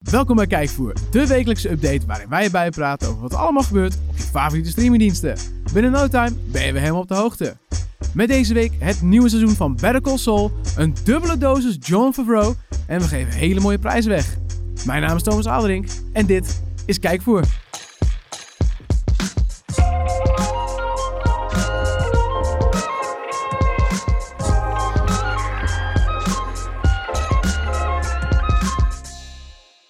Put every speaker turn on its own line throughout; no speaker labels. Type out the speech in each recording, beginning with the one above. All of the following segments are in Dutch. Welkom bij Kijkvoer, de wekelijkse update waarin wij bijpraten over wat er allemaal gebeurt op je favoriete streamingdiensten. Binnen no time ben je weer helemaal op de hoogte. Met deze week het nieuwe seizoen van Better Call Saul, een dubbele dosis John Favreau en we geven hele mooie prijzen weg. Mijn naam is Thomas Aderink en dit is Kijkvoer.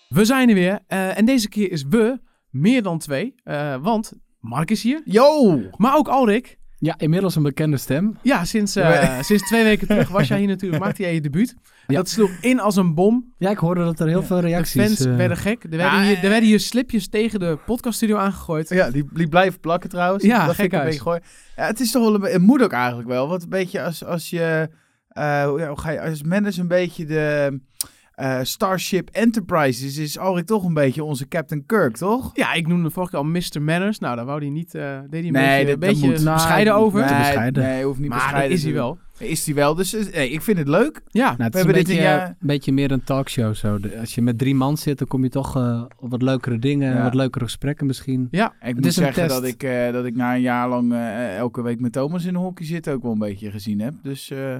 We zijn er weer eh, en deze keer is we meer dan twee, eh, want Mark is hier,
Yo!
maar ook Alrik.
Ja, inmiddels een bekende stem.
Ja, sinds, eh, sinds twee weken terug was jij hier natuurlijk, maakte jij je debuut.
Ja.
Dat sloeg in als een bom.
Ja, ik hoorde dat er heel veel reacties...
de fans
eh,
werden gek. Er werden,
Ja,
hier, er
eh.
werden hier slipjes tegen de podcaststudio aangegooid.
Ja, die, die blijven plakken trouwens.
Ja,
dat vind ik een
gekhuis.
beetje gooi. Ja, het is toch wel een be- het moet ook eigenlijk wel. Want een beetje als, als je, eh, hoe- ja, hoe ga je, als Mendes een beetje de eh, Starship Enterprises is Alrik toch een beetje onze Captain Kirk, toch?
Ja, ik noemde vorige keer al Mr. Manners. Nou, daar wou hij niet, eh, deed hij een
Nee,
beetje,
dat-
een
dat
beetje
moet.
Nou,
bescheiden
dat moet.
over.
te
Nee,
bescheiden.
Nee, hoeft niet
maar dat
bescheiden
is hij
te
wel.
doen. Is hij wel, dus eh, nee, ik vind het leuk.
Ja,
Nou, het
We
is een
hebben dit een
beetje,
jaar-
een beetje meer een talkshow zo. De- als je met drie man zit, dan kom je toch eh, op wat leukere dingen,
Ja.
wat leukere gesprekken misschien.
ja.
Ik
is
moet
een
zeggen
test.
dat ik, eh, dat ik na een jaar lang eh, elke week met Thomas in de hockey zit ook wel een beetje gezien heb. Dus eh,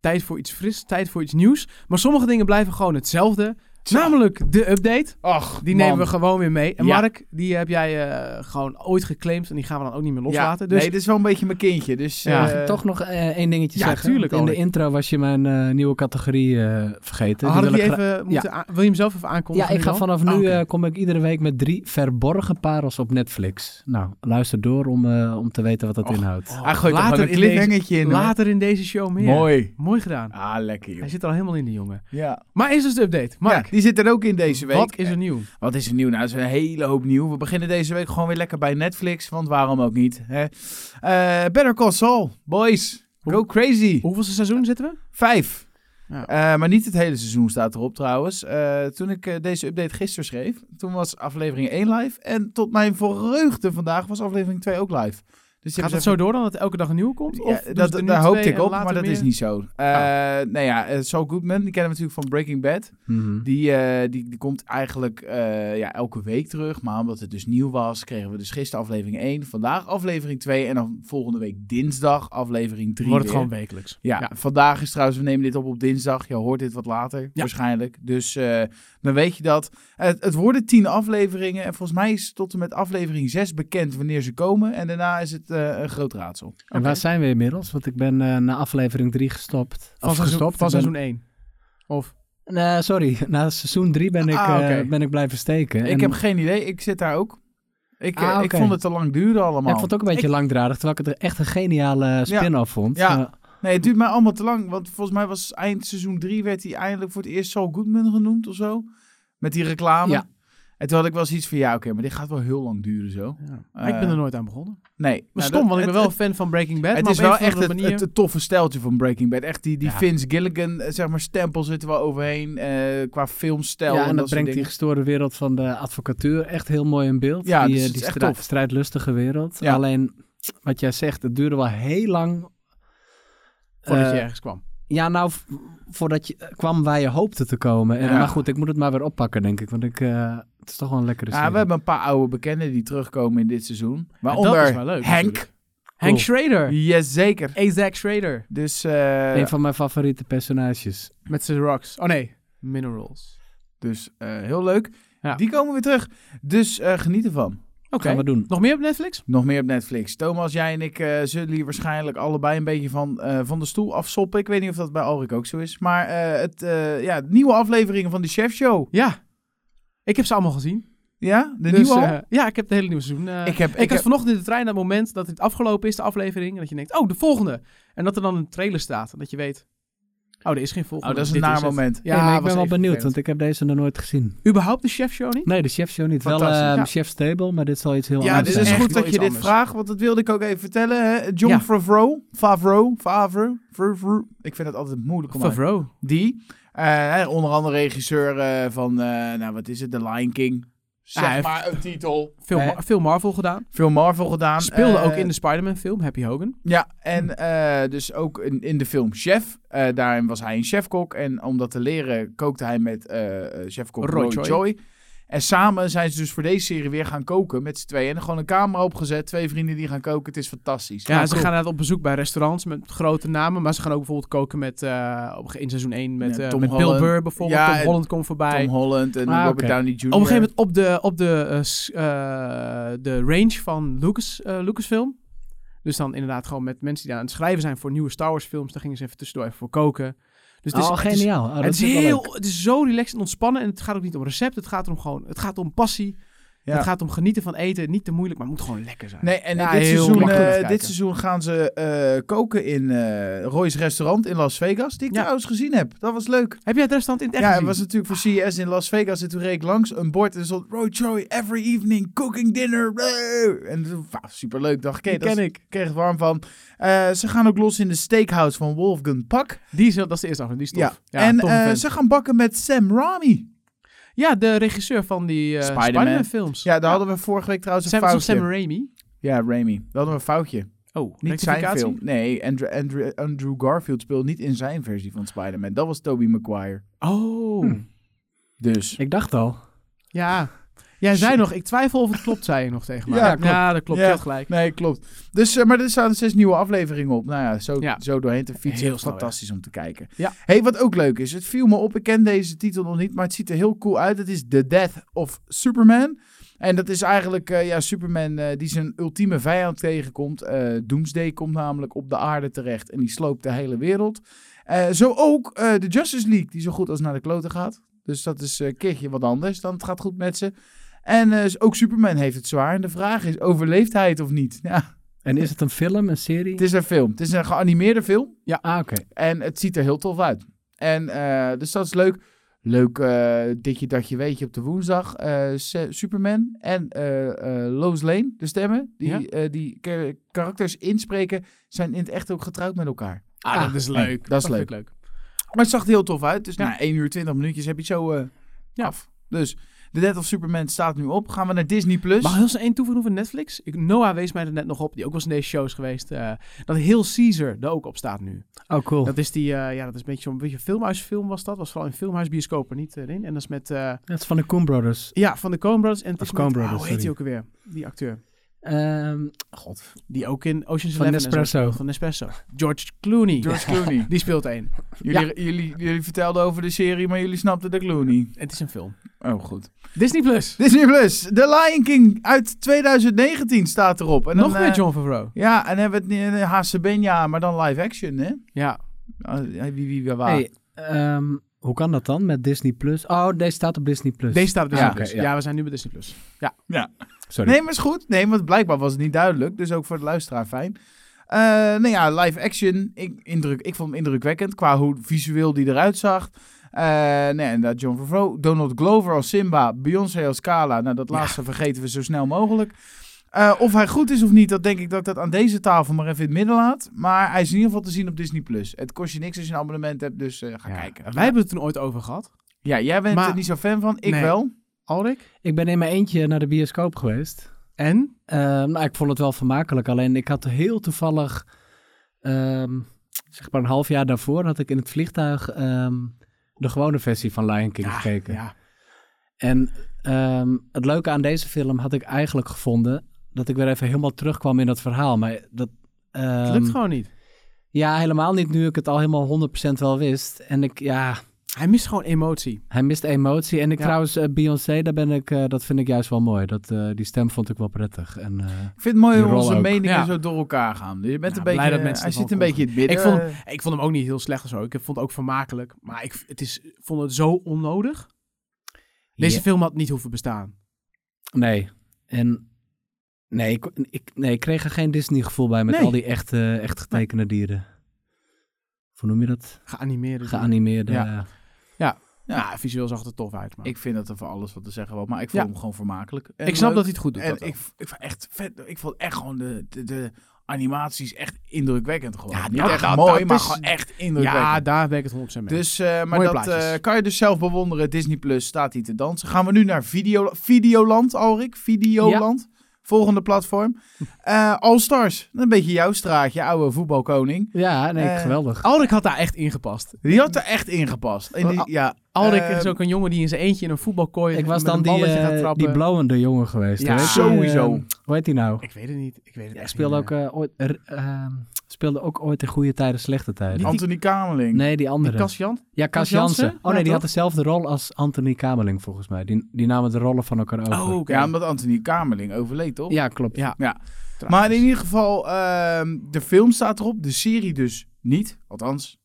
Tijd voor iets fris, tijd voor iets nieuws. Maar sommige dingen blijven gewoon hetzelfde. Namelijk de update.
ach,
Nou, Die
man.
nemen we gewoon weer mee. En
Ja.
Mark, die heb jij eh, gewoon ooit geclaimd. En die gaan we dan ook niet meer loslaten.
Ja,
dus
Nee, dit is wel een beetje mijn kindje. Dus,
Ja.
ja,
Mag ik toch nog eh, één dingetje
Ja,
zeggen?
tuurlijk,
Want In de
Alrik.
intro was je mijn eh, nieuwe categorie eh, vergeten. Die
hadden we
wil
die
ik gra-
even moeten aan- Wil je hem zelf even aankondigen?
Ja, ik
nu
ga
dan?
vanaf nu
Ah, oké.
eh, kom ik iedere week met drie verborgen parels op Netflix. Nou, luister door om, eh, om te weten wat dat
Och,
inhoudt.
Oh,
Hij gooit er
later
gewoon een
in deze-
cliffhangertje in. hoor.
Later in deze show meer.
Mooi.
Mooi gedaan.
Ah, lekker joh.
Hij zit er al helemaal in, die jongen.
Ja.
Maar is dus de update. Mark,
Ja, die zit er ook in deze week. eh,
wat is er nieuw?
Wat is er nieuw? Nou, er is een hele hoop nieuw. We beginnen deze week gewoon weer lekker bij Netflix, want waarom ook niet? Hè? Eh, Better Call Saul, boys, go crazy.
Hoeveelste seizoen zitten we?
Vijf.
Ja.
Eh, maar niet het hele seizoen staat erop trouwens. Eh, toen ik eh, deze update gisteren schreef, toen was aflevering 1 live. En tot mijn verheugde vandaag was aflevering 2 ook live. Dus die hebben
Gaat
ze
het
even-
zo door dan dat er elke dag een nieuw komt? Of
Ja,
doen
dat,
ze er nu
daar hoopte
twee
ik
en
op,
later
maar dat
meer? Oh.
is niet zo. Eh Nou ja, eh, Saul Goodman, die kennen we natuurlijk van Breaking Bad.
Mhm.
Die, eh, die, die komt eigenlijk eh, ja, elke week terug. Maar omdat het dus nieuw was, kregen we dus gisteren aflevering 1. Vandaag aflevering 2. En dan volgende week dinsdag aflevering 3
Wordt het
weer.
gewoon wekelijks.
Ja, vandaag is trouwens, we nemen dit op op dinsdag. Je hoort dit wat later, waarschijnlijk. Dus eh, dan weet je dat. Het, het worden tien afleveringen. En volgens mij is tot en met aflevering 6 bekend wanneer ze komen. En daarna is het eh, een groot raadsel.
En waar zijn we inmiddels? Want ik ben eh, na aflevering 3 gestopt.
Van
Of
seizoen,
gestopt.
van
Ik ben-
seizoen 1. Of?
Nee, sorry, na seizoen 3 ben, ik,
Ah,
eh,
oké.
ben ik blijven steken.
Ik
En-
heb geen idee. Ik zit daar ook. Ik, eh,
Ah,
ik
oké.
vond het te lang duren
Ja,
allemaal.
ik vond het ook een beetje langdradig, terwijl ik het echt een geniale spin-off vond.
Ja.
Eh,
Nee, het duurt mij allemaal te lang. Want volgens mij was eind seizoen 3 werd hij eindelijk voor het eerst Saul Goodman genoemd of zo. Met die reclame.
Ja.
En toen had ik wel zoiets van, ja oké, maar dit gaat wel heel lang duren zo.
Maar ik ben er nooit aan begonnen.
Nee.
Maar
Nou,
stom,
eh, dat-
want ik ben
het-
wel fan van Breaking Bad.
Het
maar
is
op een
wel
of
echt
andere
het,
manier...
het toffe steltje van Breaking Bad. Echt die, die
Ja.
Vince Gilligan, eh, zeg maar, stempel zit er wel overheen. eh, qua filmstijl
ja,
en,
en dat
dat soort
brengt die
dingen.
gestoorde wereld van de advocatuur echt heel mooi in beeld.
Ja,
die
dus
eh,
het
die
is echt
strij-
tof.
strijdlustige wereld.
Ja.
Alleen, wat jij zegt, het duurde wel heel lang.
Voordat
eh,
je ergens kwam.
Ja, nou, v- voordat je eh, kwam waar je hoopte te komen. En,
Ja.
Maar goed, ik moet het maar weer oppakken, denk ik. Want ik, eh, het is toch wel een lekkere
Ja,
serie.
we hebben een paar oude bekenden die terugkomen in dit seizoen. Waaronder
dat is wel leuk,
Henk.
natuurlijk. Henk Schrader.
Jazeker.
Isaac Schrader.
Dus, eh,
Een van mijn favoriete personages.
Met zijn rocks. Oh nee, minerals.
dus eh, heel leuk.
Ja.
Die komen weer terug. Dus eh, geniet ervan.
Oké.
Gaan we doen.
Nog meer op Netflix?
Nog meer op Netflix. Thomas, jij en ik eh, zullen hier waarschijnlijk allebei een beetje van, eh, van de stoel afsoppen. Ik weet niet of dat bij Alrik ook zo is. Maar eh, het, eh, ja, nieuwe afleveringen van de Chef Show.
Ja. Ik heb ze allemaal gezien.
Ja, de
Dus,
nieuwe al?
eh, ja, ik heb het hele nieuwe seizoen. eh,
ik heb,
ik, had vanochtend in de trein dat moment dat het afgelopen is, de aflevering. En dat je denkt, oh, de volgende. En dat er dan een trailer staat. En dat je weet, oh, er is geen volgende.
Oh, dat is een
Dit
naar
het.
moment.
Ja, maar ik
was
ben wel
even
benieuwd,
vervelend.
want ik heb deze nog nooit gezien.
Überhaupt de chef show niet?
Nee, de chef show niet. Wel
Fantastisch,
eh,
ja.
chef's table, maar dit zal iets heel
Ja,
anders
dit is
zijn.
echt
goed
wel
dat
iets
je dit
anders.
vraagt, want dat wilde ik ook even vertellen. Hè? John
Ja.
Favreau, Favreau, Favreau, Favreau. Ik vind het altijd moeilijk om uit te
Favreau.
Die. eh, hè, onder andere regisseur eh, van, eh, nou wat is het, The Lion King. Zeg
Hij heeft-
maar een titel.
Veel,
Hè?
Mar- veel Marvel gedaan.
Veel Marvel gedaan.
Speelde
eh,
ook in de Spider-Man film, Happy Hogan.
Ja, en eh, dus ook in, in de film Chef. eh, daarin was hij een chefkok. En om dat te leren kookte hij met eh eh, chefkok
Roy
Roy,
Choi.
Choi. En samen zijn ze dus voor deze serie weer gaan koken met z'n tweeën. En gewoon een camera opgezet, twee vrienden die gaan koken. Het is fantastisch.
Ja,
Nou,
ze
cool.
gaan inderdaad op bezoek bij restaurants met grote namen. Maar ze gaan ook bijvoorbeeld koken met, eh, op- in seizoen 1 met,
Ja,
eh,
Tom
met Bill
Holland.
Burr bijvoorbeeld.
Ja,
Tom
en
Holland komt voorbij.
Tom Holland en
Ah,
Robert
oké.
Downey Jr.
op een gegeven moment op de, op de, eh, s- eh, de range van Lucas, eh, Lucasfilm. Dus dan inderdaad gewoon met mensen die daar aan het schrijven zijn voor nieuwe Star Wars films. Daar gingen ze even tussendoor even voor koken. Dus het is,
oh,
het is-
geniaal. Oh, dat
het is
vind ik wel leuk.
heel, het is zo relaxed en ontspannen. En het gaat ook niet om recept. Het gaat om gewoon, het gaat om passie.
Ja.
Het gaat om genieten van eten. Niet te moeilijk, maar het moet gewoon lekker zijn.
Nee, en
Ja,
dit,
heel
seizoen,
makkelijk
eh,
kijken.
dit seizoen gaan ze eh, koken in eh, Roy's restaurant in Las Vegas. Die ik
Ja.
trouwens gezien heb. Dat was leuk.
Heb jij het restaurant in het echt
ja, het
gezien?
was natuurlijk voor CES in Las Vegas. En toen reed ik langs een bord en er stond Roy Choi every evening cooking dinner. Blah. En toen, wauw, superleuk. Dacht ik, hé,
Die
dat
ken
is-
ik.
kreeg het warm van. Eh, ze gaan ook los in de steakhouse van Wolfgang Pak.
Die is, dat is de eerste aflevering, die is
Ja.
tof.
en
tof
eh,
event.
ze gaan bakken met Sam Rami.
ja, de regisseur van die eh
Spider-Man.
Spider-Man films.
Ja, daar hadden we vorige week trouwens een
Sam, was
foutje.
Sam Raimi.
ja, Rami. Daar hadden we een foutje.
Oh,
Niet zijn
rectificatie?
film. Nee, Andrew, Andrew, Andrew Garfield speelt niet in zijn versie van Spider-Man. Dat was Tobey Maguire.
Oh,
Hm.
Dus.
Ik dacht al.
ja. Jij zei
Shit.
nog, ik twijfel of het klopt, zei je nog tegen mij.
Ja, klopt.
dat klopt.
Ja.
Je had gelijk.
Nee, klopt. Dus, eh, maar er staan zes nieuwe afleveringen op. Nou ja, zo,
Ja.
zo doorheen te fietsen.
Heel snel
Fantastisch om te kijken.
Ja.
hey, wat ook leuk is. Het viel me op. Ik ken deze titel nog niet, maar het ziet er heel cool uit. Het is The Death of Superman. En dat is eigenlijk eh, ja, Superman eh, die zijn ultieme vijand tegenkomt. Eh, Doomsday komt namelijk op de aarde terecht en die sloopt de hele wereld. Eh, zo ook eh, de Justice League, die zo goed als naar de kloten gaat. Dus dat is eh, een keertje wat anders dan het gaat goed met ze. En eh, ook Superman heeft het zwaar. En de vraag is, overleeft hij het of niet? Ja,
En is het een film, een serie?
het is een film. Het is een geanimeerde film.
Ah, oké.
En het ziet er heel tof uit. En eh, dus dat is leuk. Leuk eh ditje dat je weet je op de woensdag. eh, Se- Superman en eh eh, Lois Lane, de stemmen. Die,
Ja.
eh, die ka- karakters inspreken, zijn in het echt ook getrouwd met elkaar.
Ah, dat is
nee,
leuk.
dat is
vind
leuk.
ik leuk.
Maar het zag er heel tof uit. Dus
Ja.
na 1 uur 20 minuutjes heb je het zo eh,
Ja.
af. Dus The Death of Superman staat nu op. Gaan we naar Disney+. Plus.
Mag ik heel snel één toevoegen over Netflix? Ik, Noah wees mij er net nog op, die ook was in deze shows geweest. eh, dat heel Caesar er ook op staat nu.
Oh, cool.
Dat is die, eh, ja, dat is een beetje zo'n beetje filmhuisfilm was dat. Was vooral in filmhuisbioscopen niet erin. En dat is met, eh,
Dat is van de Coen Brothers.
ja, van de Coen Brothers. En het
Of
is met-
Coen Brothers,
ah, hoe heet die
sorry.
ook alweer? Die acteur.
Ehm, God.
Die ook in Ocean's
Van
Eleven en zo
Nespresso.
speelt. Van Nespresso. George Clooney.
George Clooney.
Die speelt één.
Jullie, jullie, jullie vertelden over de serie, maar jullie snapten de Clooney.
Het is een film.
Oh, goed.
Disney Plus.
Disney Plus, The Lion King uit 2019 staat erop. En
Nog
dan,
meer
eh,
John Favreau.
Ja, en dan hebben we het eh, Haase Benja, maar dan live action, hè?
Ja.
Ah, Wie, wie, wie, waar.
Hey, ehm, hoe kan dat dan met Disney+. Plus? Oh, deze staat op Disney+. Plus.
Deze staat op Disney
Ja,
Plus.
oké, ja.
ja. we zijn nu bij Disney Plus.
Sorry.
Nee, maar is goed. Nee, want blijkbaar was het niet duidelijk. Dus ook voor de luisteraar fijn. Eh nou ja, live action. Ik, indruk, ik vond hem indrukwekkend qua hoe visueel die eruit zag. Eh nee, en dat John Favreau. Donald Glover als Simba. Beyoncé als Kala. Nou, dat laatste vergeten we zo snel mogelijk. Eh, of hij goed is of niet, dat denk ik dat ik dat aan deze tafel maar even in het midden laat. Maar hij is in ieder geval te zien op Disney+. Plus. Het kost je niks als je een abonnement hebt, dus eh, ga
Ja.
kijken.
Wij hebben het toen ooit over gehad.
Ja, jij bent
Maar-
er niet zo fan van. Ik
Nee.
wel.
Alrik.
Ik ben in mijn eentje naar de bioscoop geweest.
En?
Ehm, nou, ik vond het wel vermakelijk. Alleen ik had heel toevallig, ehm, zeg maar een half jaar daarvoor, had ik in het vliegtuig ehm, de gewone versie van Lion King gekeken.
Ja.
En ehm, het leuke aan deze film had ik eigenlijk gevonden dat ik weer even helemaal terugkwam in dat verhaal. Maar dat
Het
ehm,
lukt gewoon niet.
Ja, helemaal niet nu ik het al helemaal 100% wel wist. En ik, ja,
Hij mist gewoon emotie.
hij mist emotie. En ik
Ja.
trouwens, eh, Beyoncé, daar ben ik, eh, dat vind ik juist wel mooi. Dat, eh, die stem vond ik wel prettig. En, eh,
Ik vind het mooi
Die
hoe
rol
onze
ook.
meningen
Ja.
zo door elkaar gaan. Je bent
Ja,
een
blij
beetje, eh,
dat mensen
hij
ervan
zit een beetje in het midden.
Ik vond-
Eh,
Ik vond hem ook niet heel slecht of zo. Ik vond het ook vermakelijk. Maar ik het is, ik vond het zo onnodig. Deze
ja.
film had niet hoeven bestaan.
Nee. En nee ik, ik, nee, ik kreeg er geen Disney-gevoel bij met
Nee.
al die echte, echt getekende dieren. Hoe noem je dat?
Geanimeerd. is-
Geanimeerde. eh,
Ja.
Ja, visueel zag het er tof uit. Maar. Ik,
ik vind dat er voor alles wat te zeggen was. Maar ik
Ja.
vond hem gewoon vermakelijk. En
snap
leuk.
dat hij het goed doet.
En
dat wel.
ik, ik vond echt vet. Ik vond echt gewoon de, de, de animaties echt indrukwekkend gewoon.
Ja,
Niet
dat-
echt
dat-
mooi,
dat
maar
is-
gewoon echt indrukwekkend.
Ja, daar ben ik het 100% mee.
Dus, eh, maar
Mooie
dat
plaatjes.
eh, kan je dus zelf bewonderen. Disney Plus staat hier te dansen. Gaan we nu naar Video, Videoland, Alrik? Videoland. Volgende platform. Eh All Stars. Een beetje jouw straatje, oude voetbalkoning.
Ja, nee,
Eh,
geweldig.
Alrik had daar echt ingepast.
Die had er echt ingepast. En die,
Al-
ja,
Alrik
eh,
is ook een jongen die in zijn eentje in een voetbalkooi...
Ik was
met een
dan die,
balletje gaat
eh,
trappen.
die blauwende jongen geweest.
Ja,
Hoe heet die, eh,
sowieso.
hoe heet die nou?
Ik weet het niet. Ik weet het
Hij
echt
speelde
niet
ook,
meer.
eh, ooit, er- ehm, speelde ook ooit in goede tijden, slechte tijden.
Niet die-
Anthony Kamerling.
nee, die andere.
Die Kasjan?
ja, Cas
Cas Jansen?
Jansen.
Ja,
Oh nee, die
toch?
had dezelfde rol als Anthony Kamerling volgens mij. Die, die namen de rollen van elkaar over.
Oh, oké.
Ja, omdat Anthony Kamerling overleed, toch?
Ja, klopt.
Ja.
Maar in ieder geval, ehm, de film staat erop. De serie dus niet. Althans,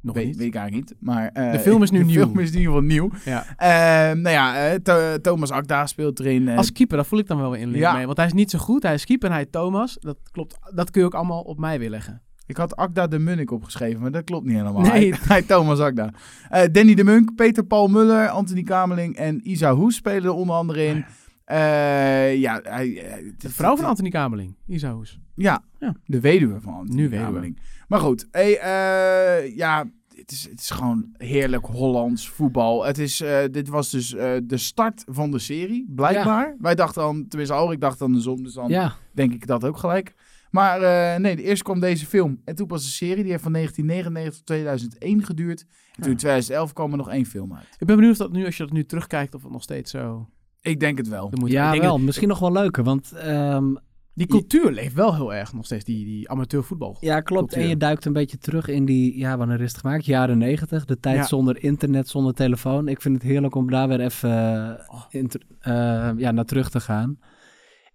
Nog
weet,
niet.
weet ik eigenlijk niet. Maar, eh,
De film is nu
de
nieuw.
film is in ieder geval nieuw.
Ja.
Eh, nou ja, eh, Tho- Thomas Akda speelt erin. eh,
Als keeper, daar voel ik dan wel weer in link
Ja.
mee. Want hij is niet zo goed. Hij is keeper en hij is Thomas. Dat klopt. Dat kun je ook allemaal op mij weer leggen.
Ik had Akda de Munnik opgeschreven, maar dat klopt niet helemaal.
Nee.
Hij, hij Thomas Akda. Eh, Danny de Munk, Peter Paul Muller, Anthony Kameling en Isa Hoes spelen er onder andere in.
Ah
Eh, ja, hij, eh,
De vrouw van Anthony Kamerling. Isaus.
Ja,
Ja.
de weduwe van Anthony
Nu weduwe.
Kameling. Maar goed, hey, eh, ja, het is, het is gewoon heerlijk Hollands voetbal. Het is, eh, dit was dus eh, de start van de serie, blijkbaar. Wij dachten dan, tenminste Alrik dacht aan de zon, dus dan
Ja,
denk ik dat ook gelijk. Maar eh, nee, eerst kwam deze film en toen pas de serie. Die heeft van 1999 tot 2001 geduurd. En toen in 2011 kwam er nog één film uit.
Ik ben benieuwd of dat nu, als je dat nu terugkijkt, of het nog steeds zo...
Ik denk het wel.
Dan moet
ja
ik denk
wel.
dat-
Misschien nog wel leuker, want... ehm,
Die cultuur leeft wel heel erg nog steeds, die, die amateurvoetbal.
Ja, klopt. En
cultuur.
je duikt een beetje terug in die, ja, wanneer is het gemaakt? Jaren negentig. De tijd
Ja.
zonder internet, zonder telefoon. Ik vind het heerlijk om daar weer even eh,
Oh.
in ter- eh, ja, naar terug te gaan.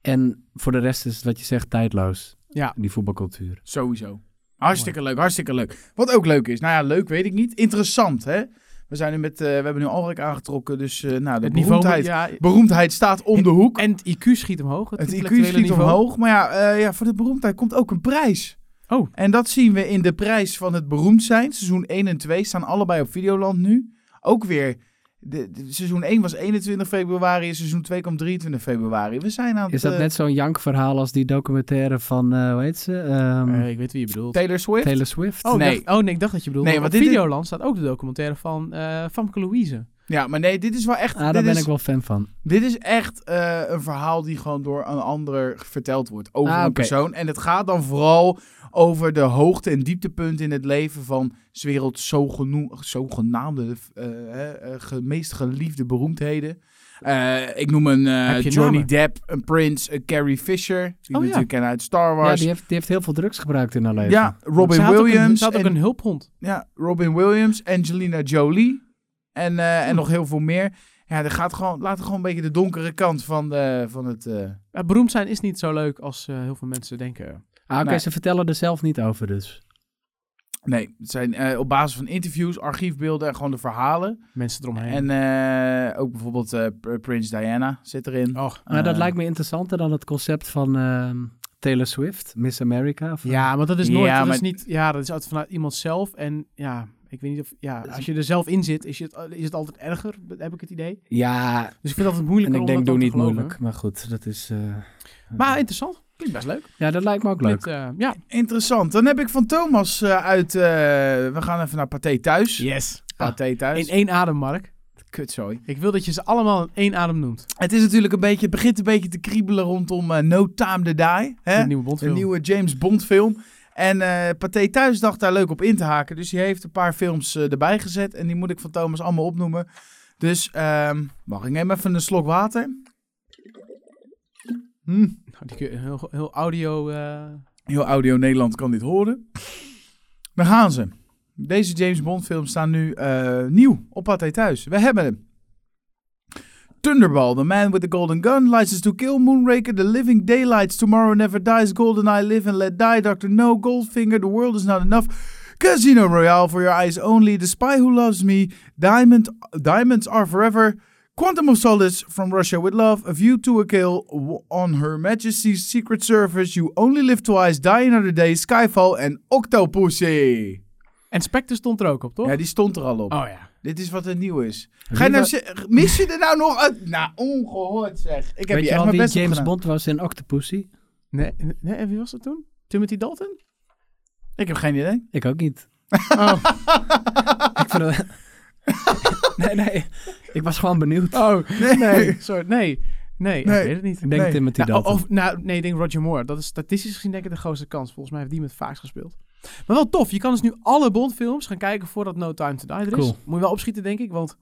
En voor de rest is het wat je zegt tijdloos,
Ja.
die voetbalcultuur.
Sowieso. Hartstikke leuk, hartstikke leuk. Wat ook leuk is, nou ja, leuk weet ik niet. Interessant, hè? We, zijn nu met, eh, we hebben nu Alrik aangetrokken, dus eh, nou, de
Het niveau... moet-
beroemdheid,
Ja,
beroemdheid staat om de hoek.
en het IQ schiet omhoog. Het,
Het IQ
intellectuele
schiet
niveau.
omhoog, maar ja, eh, ja, voor de beroemdheid komt ook een prijs.
Oh.
En dat zien we in de prijs van het beroemd zijn. Seizoen 1 en 2 staan allebei op Videoland nu. Ook weer, de, de- seizoen 1 was 21 februari en seizoen 2 kwam 23 februari. We zijn aan het...
Is dat
eh,
net zo'n jankverhaal als die documentaire van, eh hoe heet ze? Ehm,
Eh, ik weet wie je bedoelt.
Taylor Swift?
Taylor Swift.
Oh,
Nee.
nee. Dacht, oh, nee, ik dacht dat je bedoelde.
Nee,
Nee, want
want
op
dit is-
Videoland staat ook de documentaire van eh Famke Louise.
Ja, maar nee, dit is wel echt...
Ah, daar
dit
ben
is,
ik wel fan van.
Dit is echt eh, een verhaal die gewoon door een ander verteld wordt. Over
Ah,
een
oké.
persoon. En het gaat dan vooral over de hoogte- en dieptepunten in het leven van 's werelds zogeno- zogenaamde eh, eh, eh, ge- meest geliefde beroemdheden. Eh, ik noem een eh,
Heb je
Johnny
namen? Oh,
Depp, een Prince, een Carrie Fisher. Die we
ja.
natuurlijk kennen uit Star
Ja,
Wars.
die heeft, die heeft heel veel drugs gebruikt in haar leven.
Ja, Robin
Ze had ook een-
Williams.
Ze had ook
en-
een hulphond.
ja, Robin Williams, Angelina Jolie en, eh, en nog heel veel meer. Ja, dat gaat gewoon, laat gewoon een beetje de donkere kant van, de, van het... eh,
Ja, beroemd zijn is niet zo leuk als eh, heel veel mensen denken.
Ah, oké,
Nee.
ze vertellen er zelf niet over dus.
Nee, het zijn eh, op basis van interviews, archiefbeelden en gewoon de verhalen.
Mensen eromheen.
En eh, ook bijvoorbeeld eh, Pr- Prince Diana zit erin.
Och.
Maar Oh, nou, dat
Eh,
lijkt me interessanter dan het concept van ehm, Taylor Swift, Miss America. Of,
Ja, maar dat is nooit.
Ja,
dat
maar-
is niet. Ja, dat is altijd vanuit iemand zelf. En ja, ik weet niet of. Ja, als je er zelf in zit, is het, is het altijd erger. Heb ik het idee.
ja
Dus ik vind dat het moeilijk.
en ik denk
dat
doe
dan
niet
te geloven.
moeilijk. Maar goed, dat is... eh,
Maar interessant. Klinkt best leuk.
ja, dat lijkt me ook leuk.
Met, eh, ja.
Interessant. Dan heb ik van Thomas eh, uit... eh, we gaan even naar Pathé Thuis.
Yes.
Pathé Thuis.
Ah, In één adem, Mark.
Kutzooi.
Ik wil dat je ze allemaal in één adem noemt.
Het is natuurlijk een beetje... Het begint een beetje te kriebelen rondom eh, No Time To Die. Hè?
Mhm.
De nieuwe Bondfilm.
Eh? Een nieuwe James Bond film. En eh Pathé Thuis dacht daar leuk op in te haken. Dus die heeft een paar films eh, erbij gezet. En die moet ik van Thomas allemaal opnoemen. Dus ehm mag ik neem even een slok water. Hm,
Nou, die kun je heel, heel audio. eh,
Heel audio Nederland kan dit horen. Daar gaan ze. Deze James Bond films staan nu eh, nieuw op Pathé Thuis. We hebben hem. Thunderball, The Man with the Golden Gun, License to Kill, Moonraker, The Living Daylights, Tomorrow Never Dies, GoldenEye, Live and Let Die, Dr. No, Goldfinger, The World Is Not Enough, Casino Royale, For Your Eyes Only, The Spy Who Loves Me, Diamond, Diamonds Are Forever, Quantum of Solace, From Russia with Love, A View to a Kill, W- On Her Majesty's Secret Service, You Only Live Twice, Die Another Day, Skyfall en Octopussy.
En Spectre stond er ook op, toch?
Ja, die stond er al op.
Oh ja.
Dit is wat er nieuw is. Ga je nou, ze- mis je er nou nog uit? Nou, ongehoord zeg. Ik heb
Weet
je
je
echt
al
mijn
wie
best op
James
gedaan.
Bond was in Octopussy?
Nee, nee, en wie was dat toen? Timothy Dalton?
Ik heb geen idee.
Ik ook niet. Oh. Ik vind het... nee, nee. Ik was gewoon benieuwd.
Oh, nee. Nee, sorry, nee. Nee,
Nee.
ik weet het niet.
Ik denk
Nee.
Timothy
Nou,
Dalton.
of, nou, nee, ik denk Roger Moore. Dat is statistisch gezien denk ik de grootste kans. Volgens mij heeft die met vaaks gespeeld. Maar wel tof. Je kan dus nu alle Bond-films gaan kijken voordat No Time to Die er is.
Cool.
Moet je wel opschieten, denk ik, want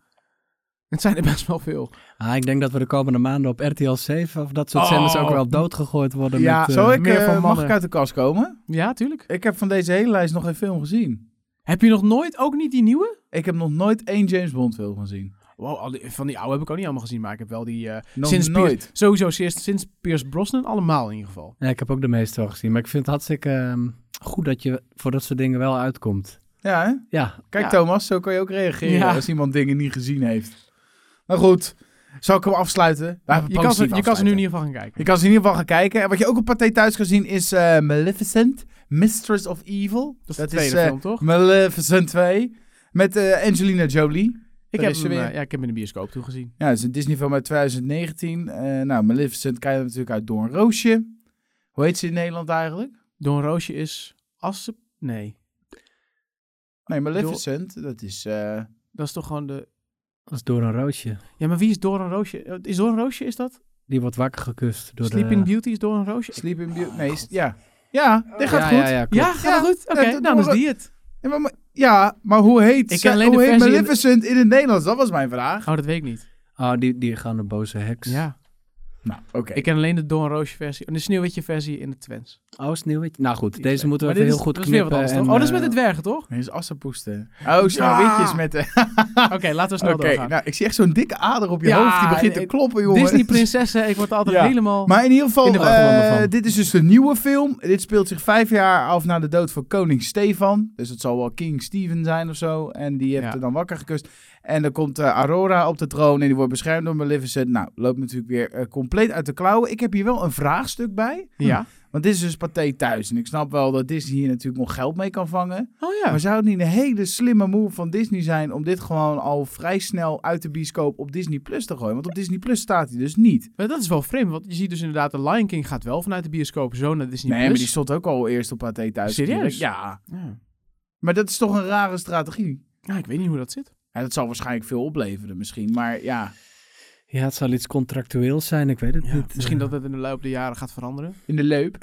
het zijn er best wel veel.
Ah, ik denk dat we de komende maanden op RTL 7 of dat soort
Oh.
zenders ook wel doodgegooid worden.
Ja,
met, eh,
Zal ik,
meer
eh,
van
mag
mannen.
ik uit de kast komen?
Ja, tuurlijk.
Ik heb van deze hele lijst nog geen film gezien.
Heb je nog nooit, ook niet die nieuwe?
Ik heb nog nooit één James Bond film gezien.
Wow, al die- van die oude heb ik ook niet allemaal gezien, maar ik heb wel die... eh,
Nog
sinds Pier-
nooit.
sowieso sinds, sinds Pierce Brosnan allemaal in ieder geval.
ja, ik heb ook de meeste al gezien. Maar ik vind het hartstikke ehm, goed dat je voor dat soort dingen wel uitkomt.
Ja, hè?
Ja,
Kijk
Ja.
Thomas, zo kan je ook reageren
Ja.
als iemand dingen niet gezien heeft. Nou goed, zal ik hem afsluiten? Laten we
Je kan, ze,
positief
je kan ze nu in ieder
afsluiten.
geval gaan kijken.
Je kan ze in ieder geval gaan kijken. En wat je ook op Pathé thuis kan zien is eh, Maleficent, Mistress of Evil.
dat is de tweede
eh,
film, toch?
Maleficent 2 met eh, Angelina Jolie.
Ik
daar
heb,
is ze
hem,
weer.
eh, ja, ik heb hem in de bioscoop toen gezien.
Ja, het is een Disney film uit 2019. Eh, nou, Maleficent ken je natuurlijk uit Door een Roosje. Hoe heet ze in Nederland eigenlijk?
Don Roosje is... Asse... Nee,
Nee, Maleficent, dat is... eh,
dat is toch gewoon de...
dat is door een roosje.
Ja, maar wie is Doran Roosje? Eh, Is Doran Roosje, is dat?
Die wordt wakker gekust door
Sleeping
de...
Beauty is Doran Roosje?
Sleeping Beauty. Nee, is- ja. Ja, dit gaat
ja,
goed.
Ja, ja, klopt.
Oh, Ja, gaat
Ja,
goed? Oké,
dat- dat
nou,
doen
dan
we
is die het.
Ja, maar- maar, ja, maar hoe heet,
Ik
ze,
ken alleen de
hoe heet
versie in de-
Maleficent in het Nederlands? Dat was mijn vraag.
Oh, dat weet ik niet.
Oh, die, die gaan de boze heks.
Ja.
Nou, oké.
Ik ken alleen de Doran Roosje versie. En de Sneeuwwitje versie in het Twents.
Oh, sneeuwwitje. Nou goed,
Die
deze
twee.
moeten we
Maar
even
dit
heel
is-
goed
dat is weer wat
knippen.
anders,
en,
toch? Oh, dat is met
eh,
de dwergen, toch?
Nee, is assenpoesten. Oh, sneeuwwitjes met de...
Oké, laten we snel
Oké,
doorgaan.
nou, ik zie echt zo'n dikke ader op je
Ja,
hoofd. Die begint
eh,
te kloppen, jongen.
Disney prinsessen, ik word altijd
Ja.
helemaal...
Maar in ieder geval,
In de wachtwonden
eh,
van.
dit is dus de nieuwe film. Dit speelt zich vijf jaar af na de dood van koning Stefan. Dus het zal wel King Steven zijn of zo. En die heeft
Ja.
er dan wakker gekust. En dan komt eh, Aurora op de troon en die wordt beschermd door Maleficent. Nou, loopt natuurlijk weer eh, compleet uit de klauwen. Ik heb hier wel een vraagstuk bij.
Ja.
Want dit is dus Pathé thuis. En ik snap wel dat Disney hier natuurlijk nog geld mee kan vangen.
Oh ja.
Maar zou het niet een hele slimme move van Disney zijn... om dit gewoon al vrij snel uit de bioscoop op Disney Plus te gooien? Want op Disney Plus staat hij dus niet.
Maar dat is wel vreemd, want je ziet dus inderdaad... de Lion King gaat wel vanuit de bioscoop zo naar Disney+.
Nee, maar die
Plus.
stond ook al eerst op Pathé thuis.
Serieus?
natuurlijk. Ja.
Ja.
Maar dat is toch een rare strategie?
Nou, ik weet niet hoe dat zit.
Ja, dat zal waarschijnlijk veel opleveren misschien, maar ja.
Ja, het zal iets contractueels zijn, ik weet het
Ja,
niet.
Misschien dat het in de loop der jaren gaat veranderen.
In de leup.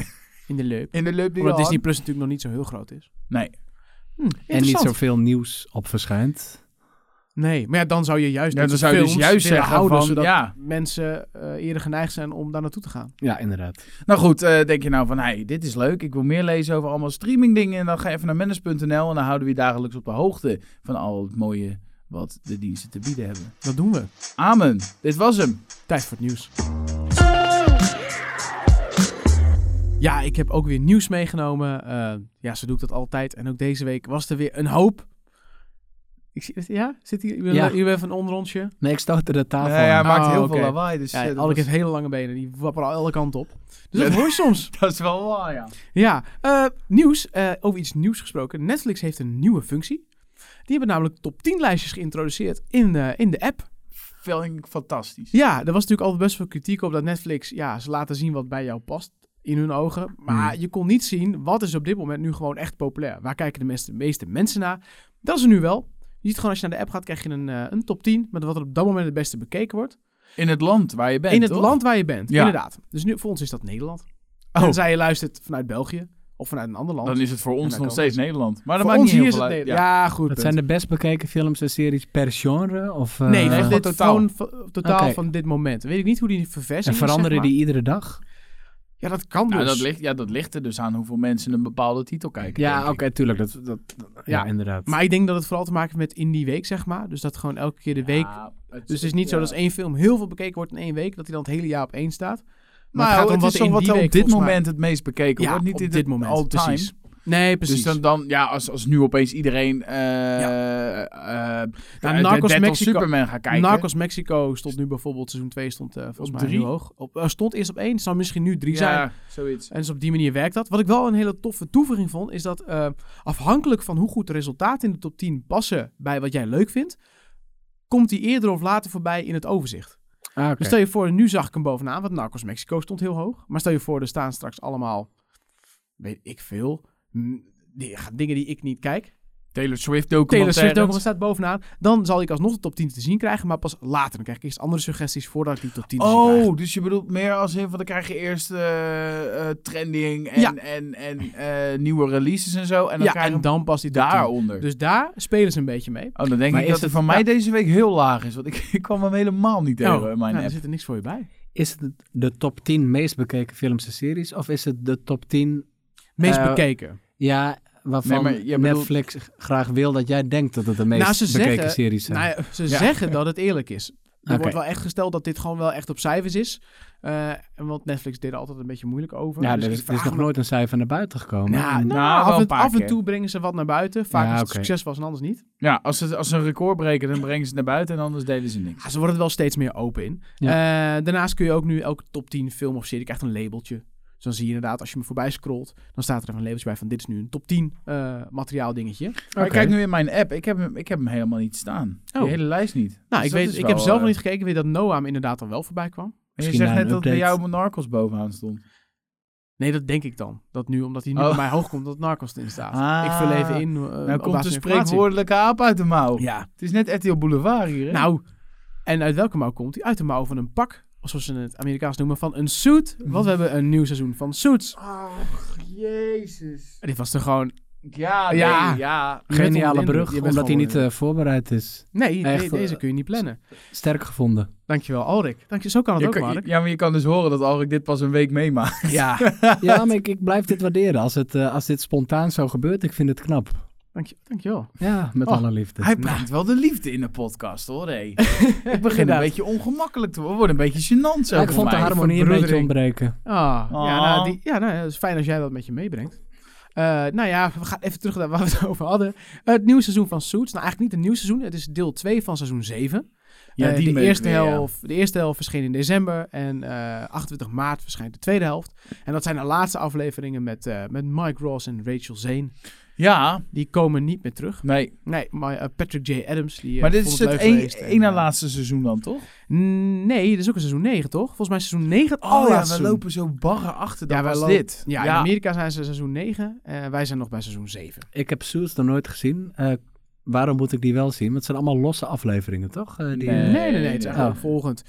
In de loop.
In de leup die
Omdat
al-
Disney Plus natuurlijk nog niet zo heel groot is.
Nee. Hmm,
Hm,
en niet
interessant.
zoveel nieuws op verschijnt.
Nee, maar ja, dan zou je juist
Ja,
dit
dan
soort
zou je dus
films
juist
willen
zeggen
houden,
van,
zodat
ja.
mensen eh, eerder geneigd zijn om daar naartoe te gaan.
Ja, inderdaad.
Nou goed, eh, denk je nou van, hey, dit is leuk. Ik wil meer lezen over allemaal streamingdingen. En dan ga je even naar mennis.nl en dan houden we je dagelijks op de hoogte van al het mooie wat de diensten te bieden hebben.
Dat doen we.
Amen. Dit was hem.
Tijd voor het nieuws. Ja, ik heb ook weer nieuws meegenomen. Eh, ja, zo doe ik dat altijd. En ook deze week was er weer een hoop. Ik zie, ja, zit hier, jullie
Ja.
jullie hebben even een onderontje.
Nee, ik stootte de tafel
Nee, hij
aan.
maakt
Oh,
heel
oké.
veel lawaai. Dus
Ja,
eh, dat,
Alec
was-
heeft hele lange benen, die wapperen al alle kanten op. Dus
Ja.
dat hoor je soms.
dat is wel waar, ja.
Ja, eh, nieuws. eh, over iets nieuws gesproken. Netflix heeft een nieuwe functie. Die hebben namelijk top 10 lijstjes geïntroduceerd in, eh, in de app.
Vind ik fantastisch.
Ja, er was natuurlijk altijd best veel kritiek op dat Netflix... Ja, ze laten zien wat bij jou past in hun ogen. Maar
Hmm.
je kon niet zien wat is op dit moment nu gewoon echt populair. Waar kijken de meeste, meeste mensen naar? Dat is er nu wel. Je ziet gewoon als je naar de app gaat, krijg je een, eh, een top 10... met wat er op dat moment het beste bekeken wordt.
In het land waar je bent,
in het
toch?
land waar je bent,
Ja.
inderdaad. Dus nu, voor ons is dat Nederland.
Oh.
Tenzij je luistert vanuit België of vanuit een ander land.
Dan is het voor ons
dan
nog
kan
steeds Nederland. Maar dat
Voor
maakt
ons
niet
hier
heel
is
veel
het
uit.
Nederland. Ja, goed
Dat
punt.
zijn de best bekeken films en series per genre? Of, eh,
Nee,
Eh,
van dit
totaal.
totaal, van, totaal
Oké.
van dit moment. Weet ik niet hoe die verversing
en
is,
veranderen
zeg maar.
die iedere dag?
Ja, dat kan dus.
Nou, dat ligt, ja, dat ligt er dus aan hoeveel mensen een bepaalde titel kijken.
Ja,
denk
oké,
ik.
tuurlijk. Dat, dat, ja,
Ja,
inderdaad.
Maar ik denk dat het vooral te maken heeft met in die week, zeg maar. Dus dat gewoon elke keer de week...
Ja,
Dus het is niet zo
ja.
dat als één film heel veel bekeken wordt in één week... dat hij dan het hele jaar op één staat. Maar
Nou,
het gaat om
het
wat
is
er in
toch wat
die
er op
week
dit
volgens mij-
moment het meest bekeken
ja,
wordt. Niet
op
in
dit moment.
All time.
Precies. Nee, precies.
Dus dan, dan ja, als, als nu opeens iedereen eh eh, eh, de
Narcos
Dead of
Mexico-
Superman gaat kijken.
Narcos Mexico stond nu bijvoorbeeld... seizoen 2 stond eh, volgens
Op
mij
drie?
heel hoog. Op, eh, stond eerst op één, zou misschien nu drie zijn.
Ja, zoiets.
En dus op die manier werkt dat. Wat ik wel een hele toffe toevoeging vond, is dat eh, afhankelijk van hoe goed de resultaten in de top 10 passen bij wat jij leuk vindt, komt die eerder of later voorbij in het overzicht.
Ah, oké.
Dus stel je voor, nu zag ik hem bovenaan, want Narcos Mexico stond heel hoog. Maar stel je voor, er staan straks allemaal weet ik veel, m, die, dingen die ik niet kijk.
Taylor Swift
Taylor
documentaire.
Swift document staat bovenaan. Dan zal ik alsnog de top 10 te zien krijgen, maar pas later. Dan krijg ik eerst andere suggesties voordat ik die top 10 te zien krijg.
Oh, dus je bedoelt meer als in van dan krijg je eerst eh, eh, trending en,
Ja.
en, en eh, nieuwe releases en zo. En dan
ja,
krijg
en
je hem
dan pas die top 10.
daaronder.
Dus daar spelen ze een beetje mee.
oh, dan denk
Maar
ik
is
dat het Oh,
het-
van mij deze week heel laag is. Want ik, ik kwam hem helemaal niet tegen in mijn
nou, er
app.
zit er niks voor je bij.
Is het de top 10 meest bekeken films en series? Of is het de top 10,
Meest
Eh,
bekeken.
ja, waarvan
Nee, maar jij bedoelt-
Netflix graag wil dat jij denkt dat het de meest
Nou, ze
bekeken
zeggen-
series zijn?
Nou, ja, ze
Ja.
zeggen dat het eerlijk is. Er
Oké.
wordt wel echt gesteld dat dit gewoon wel echt op cijfers is. Eh, want Netflix deed er altijd een beetje moeilijk over.
ja,
Dus
er
ik
is, er is
vraag
nog
me-
nooit een cijfer naar buiten gekomen.
Nou, nou,
Nou, wel
af,
een
en,
paar
af en
keer.
toe brengen ze wat naar buiten. Vaak
Ja,
als het
oké.
succes was en anders niet.
Ja, als ze, als ze een record breken, dan brengen ze het naar buiten en anders delen ze niks.
Ja, Ah, ze worden er wel steeds meer open in.
Ja.
Eh, daarnaast kun je ook nu elke top 10 film of serie krijgt een labeltje. Dus dan zie je inderdaad, als je me voorbij scrolt, dan staat er even een labeltje bij van dit is nu een top 10 eh, materiaal dingetje.
Maar
Oké.
ik kijk nu in mijn app, ik heb hem, ik heb hem helemaal niet staan.
Oh.
Die hele lijst niet.
Nou, ik,
dat
weet,
is
ik
wel,
heb zelf
eh,
nog niet gekeken, ik weet dat Noah hem inderdaad al wel voorbij kwam.
En je
Misschien
zegt
na een
net dat bij
update.
jou Narcos bovenaan stond.
Nee, dat denk ik dan. Dat nu, omdat hij nu
Oh.
bij mij hoog komt, dat Narcos erin staat.
Ah.
ik vul even in. eh,
nou
op basis
komt de
van informatie.
spreekwoordelijke aap uit de mouw.
Ja,
Het is net RTL Boulevard hier, hè?
nou. En uit welke mouw komt hij? Uit de mouw van een pak. Of zoals ze het Amerikaans noemen, van een suit. Want we hebben een nieuw seizoen van suits.
Ach, jezus.
En dit was er gewoon...
Ja, nee,
Ja.
ja.
Geniale
onder de
brug,
indruk. Je bent
omdat hij
gewoon
niet eh, voorbereid is.
Nee,
Echt,
de- deze
eh,
kun je niet plannen.
Sterk gevonden.
Dankjewel, Alrik. Dank je, zo kan het
Je
ook,
kan-
Mark.
ja, maar je kan dus horen dat Alrik dit pas een week meemaakt.
Ja,
Ja, maar ik, ik blijf dit waarderen. Als, het, eh, als dit spontaan zo gebeurt, ik vind het knap.
dank je, dankjewel.
Ja, met
Oh,
alle liefde.
Hij brengt wel de liefde in de podcast, hoor. hé. ik begin een
Inderdaad.
beetje ongemakkelijk te worden. Wordt een beetje gênant zo
Ja, ik
voor
vond de
mij.
harmonie een beetje
verbroedering.
ontbreken.
Ah,
Ah.
ja, nou, die, ja, nou, dat is fijn als jij dat met je meebrengt. Eh, nou ja, we gaan even terug naar waar we het over hadden. het nieuwe seizoen van Suits. Nou, eigenlijk niet een nieuw seizoen. Het is deel 2 van seizoen 7.
Ja,
Eh,
die
de,
meuk
eerste
weer, ja.
helft, de eerste helft verscheen in december. En eh, 28 maart verschijnt de tweede helft. En dat zijn de laatste afleveringen met, eh, met Mike Ross en Rachel Zane.
Ja,
Die komen niet meer terug.
nee.
Nee, maar, eh, Patrick J. Adams. Die, eh,
maar dit
vond
is het
leuk
een,
geweest en,
ene
eh,
laatste seizoen dan, toch?
Nee, dat is ook een seizoen 9, toch? Volgens mij seizoen 9 het
Oh ja,
allerlaatste
we
seizoen.
lopen zo barren achter. Dat
Ja, wij
was
lopen-
dit.
Ja, in Amerika zijn ze seizoen 9. eh, wij zijn nog bij seizoen 7.
Ik heb Suits nog nooit gezien. Eh, waarom moet ik die wel zien? Want het zijn allemaal losse afleveringen, toch? Eh, die,
Nee.
Nee, nee, nee. Het is
nee.
eigenlijk
Oh.
volgend.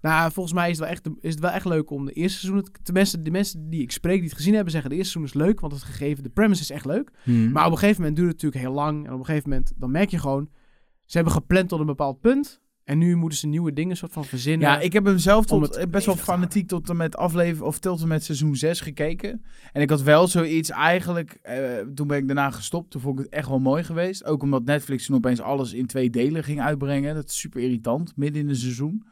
Nou, volgens mij is het, wel echt, is het wel echt leuk om de eerste seizoen... Tenminste, de mensen die ik spreek, die het gezien hebben, zeggen... de eerste seizoen is leuk, want het gegeven, de premise is echt leuk.
Hmm.
Maar op een gegeven moment duurt het natuurlijk heel lang. En op een gegeven moment, dan merk je gewoon... ze hebben gepland tot een bepaald punt... en nu moeten ze nieuwe dingen soort van verzinnen.
Ja, ik heb hem zelf
Om
tot, eh,
het
best wel
levend te
fanatiek tot en met aflevering of tot en met seizoen 6 gekeken. En ik had wel zoiets eigenlijk, eh, toen ben ik daarna gestopt, toen vond ik het echt wel mooi geweest. Ook omdat Netflix toen opeens alles in twee delen ging uitbrengen. Dat is super irritant, midden in een seizoen.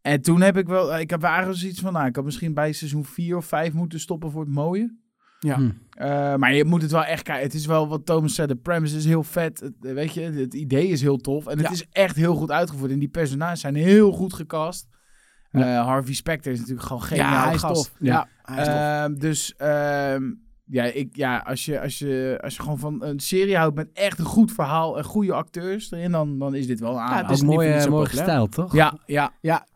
En toen heb ik wel, eh, ik heb ergens zoiets van, nou, ik had misschien bij seizoen 4 of 5 moeten stoppen voor het mooie.
Ja.
Hm.
Eh, maar je moet het wel echt kijken. Het is wel wat Thomas zei, de premise is heel vet. Het, eh, weet je, het idee is heel tof. En het
Ja.
is echt heel goed uitgevoerd. En die personages zijn heel goed gecast. Eh, Harvey Specter is natuurlijk gewoon geniaal
ja, hij is
gast.
tof.
Ja.
Ja, hij is tof.
Ehm, dus ehm, ja, ik, ja als, je, als, je, als je gewoon van een serie houdt met echt een goed verhaal en goede acteurs erin, dan, dan is dit wel aan.
het
Ja,
is
Ook
niet
mooi,
voor niets
eh,
zo
mooi
populair.
gestyled, toch?
ja, ja,
Ja.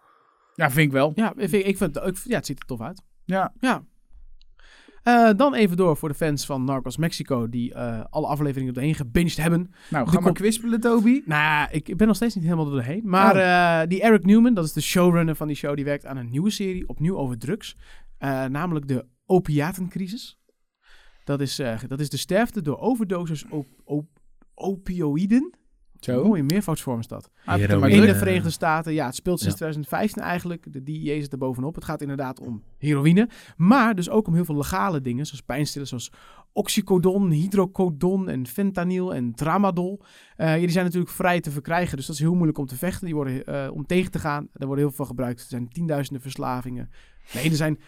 vind ik wel.
Ja, ik vind, ik vind, het- ik vind- ja, het ziet er tof uit.
Ja.
ja. Eh, dan even door voor de fans van Narcos Mexico, die eh, alle afleveringen op de heen gebinged hebben.
Nou,
De
ga maar
kop-
kwispelen, Toby.
Nou, ja, ik, ik ben nog steeds niet helemaal door de heen. Maar
Oh.
eh, die Eric Newman, dat is de showrunner van die show, die werkt aan een nieuwe serie, opnieuw over drugs. Eh, namelijk de opiatencrisis. Dat is, eh, dat is de sterfte door overdoses op, op opioïden.
Zo.
Mooie meervoudsvorm is dat.
Hij heeft het
Heroïne.
maar
In
druk.
de Verenigde Staten, ja, het speelt sinds
Ja.
2015 eigenlijk. De DEA zit er bovenop. Het gaat inderdaad om heroïne, maar dus ook om heel veel legale dingen, zoals pijnstillers, zoals oxycodon, hydrocodon en fentanyl en tramadol. Eh, ja, die zijn natuurlijk vrij te verkrijgen, dus dat is heel moeilijk om te vechten. Die worden eh, om tegen te gaan. Er worden heel veel gebruikt. Er zijn tienduizenden verslavingen. Nee, er zijn 2,5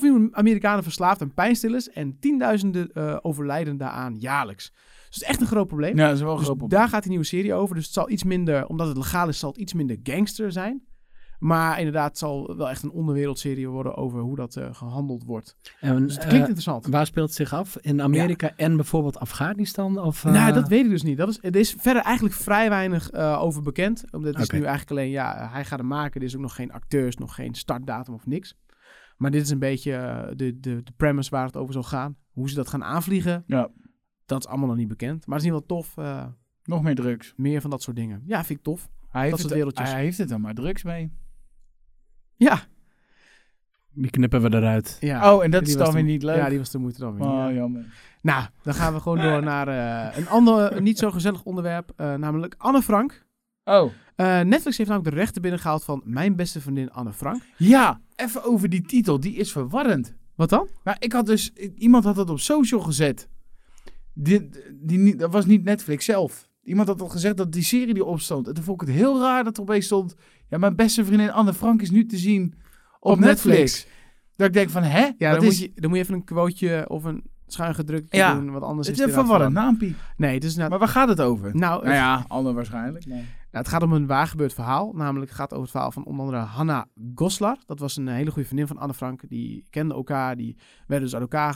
miljoen Amerikanen verslaafd aan pijnstillers en tienduizenden eh, overlijden daaraan jaarlijks. Dus het is echt een groot probleem.
Ja, dat is wel een
Dus
groot probleem.
daar gaat die nieuwe serie over. Dus het zal iets minder, omdat het legaal is, zal het iets minder gangster zijn. Maar inderdaad, het zal wel echt een onderwereldserie worden over hoe dat eh, gehandeld wordt.
En,
Dus het
eh,
klinkt interessant.
waar speelt het zich af? In Amerika en bijvoorbeeld Afghanistan? Of, eh,
nou, dat weet ik dus niet. Dat is, er is verder eigenlijk vrij weinig eh, over bekend. Omdat het is
Oké.
nu eigenlijk alleen, ja, hij gaat hem maken. Er is ook nog geen acteurs, nog geen startdatum of niks. Maar dit is een beetje eh, de, de, de premise waar het over zal gaan. Hoe ze dat gaan aanvliegen,
Ja.
dat is allemaal nog niet bekend. Maar het is in ieder geval tof. eh,
Nog meer drugs.
meer van dat soort dingen. Ja, vind ik tof.
Hij heeft,
soort
het,
wereldjes.
hij heeft het dan maar drugs mee.
Ja.
Die knippen we eruit.
ja.
oh, en dat
Die
is
was
dan
de-
weer niet leuk.
Ja, die was de moeite dan weer.
Oh,
Ja.
jammer.
Nou, dan gaan we gewoon door naar eh, een ander niet zo gezellig onderwerp. eh, namelijk Anne Frank.
Oh.
Eh, Netflix heeft namelijk de rechten binnengehaald van mijn beste vriendin Anne Frank.
Ja, even over die titel. Die is verwarrend.
Wat dan?
Maar ik had dus... Iemand had dat op social gezet. Die, die, niet- dat was niet Netflix zelf. Iemand had al gezegd dat die serie die opstond. En toen vond ik het heel raar dat er opeens stond... Ja, mijn beste vriendin Anne Frank is nu te zien op,
Op
Netflix.
Netflix.
Dat ik denk van, hè?
Ja,
dat
dan,
is
moet je, dan moet je even een quoteje of een schuin gedrukt
Ja.
doen, want anders
het
is
is een
inderdaad
verwarrend naampie.
verwarrend. Nee, het is inderdaad-
Maar waar gaat het over?
Nou, het,
nou ja, Anne waarschijnlijk. maar-
nou, het gaat om een waargebeurd verhaal. Namelijk het gaat over het verhaal van onder andere Hanna Goslar. Dat was een hele goede vriendin van Anne Frank. Die kenden elkaar, die werden dus uit elkaar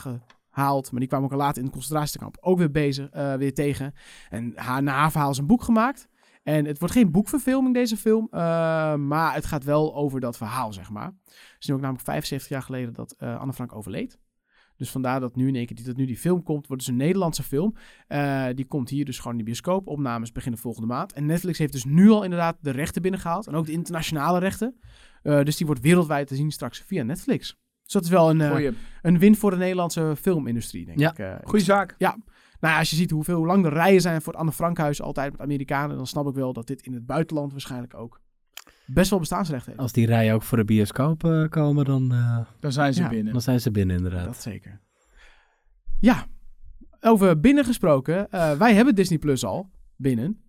gehaald. Maar die kwamen elkaar later in het concentratiekamp ook weer, bezig, eh, weer tegen. En haar, na haar verhaal is een boek gemaakt. En het wordt geen boekverfilming, deze film. eh, maar het gaat wel over dat verhaal, zeg maar. Het is nu ook namelijk 75 jaar geleden dat eh, Anne Frank overleed. Dus vandaar dat nu in één keer die, dat nu die film komt. Wordt dus een Nederlandse film. Eh, die komt hier dus gewoon in de bioscoop. Opnames beginnen volgende maand. En Netflix heeft dus nu al inderdaad de rechten binnengehaald. En ook de internationale rechten. Eh, dus die wordt wereldwijd te zien straks via Netflix. Dus dat is wel een, eh,
Goeie,
een win voor de Nederlandse filmindustrie, denk
Ja.
ik. Eh,
goeie zaak.
nou ja, als je ziet hoeveel, hoe lang de rijen zijn voor het Anne Frankhuis altijd met Amerikanen, dan snap ik wel dat dit in het buitenland waarschijnlijk ook best wel bestaansrecht heeft.
Als die rijen ook voor de bioscoop eh, komen, dan, eh,
Dan zijn ze
Ja,
binnen.
dan zijn ze binnen inderdaad.
Dat zeker. Ja, over binnen gesproken. eh, wij hebben Disney Plus al binnen.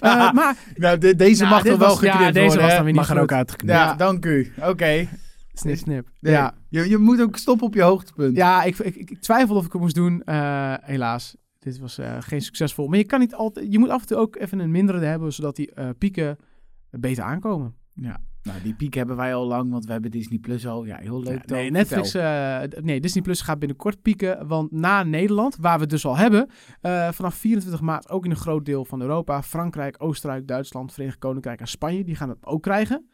Eh, maar
Nou, de- deze
Nou,
mag
dit
toch wel
was- ja,
geknipt
deze
worden,
was
hè?
dan weer niet
Mag er ook
goed.
uitgeknipt.
Ja,
Ja.
dank u. Oké.
snip, snip.
Nee,
Ja,
Je, je moet ook stoppen op je hoogtepunt.
ja ik, ik, ik twijfel of ik het moest doen. Eh, helaas, dit was eh, geen succesvol. Maar je kan niet altijd. Je moet af en toe ook even een mindere hebben, zodat die eh, pieken beter aankomen.
Nou, die piek hebben wij al lang, want we hebben Disney Plus al. Ja, heel leuk.
Ja,
dan.
nee, Netflix,
Vertel.
eh, d- nee, Disney Plus gaat binnenkort pieken. Want na Nederland, waar we het dus al hebben, eh, vanaf 24 maart ook in een groot deel van Europa, Frankrijk, Oostenrijk, Duitsland, Verenigd Koninkrijk en Spanje, die gaan het ook krijgen. Want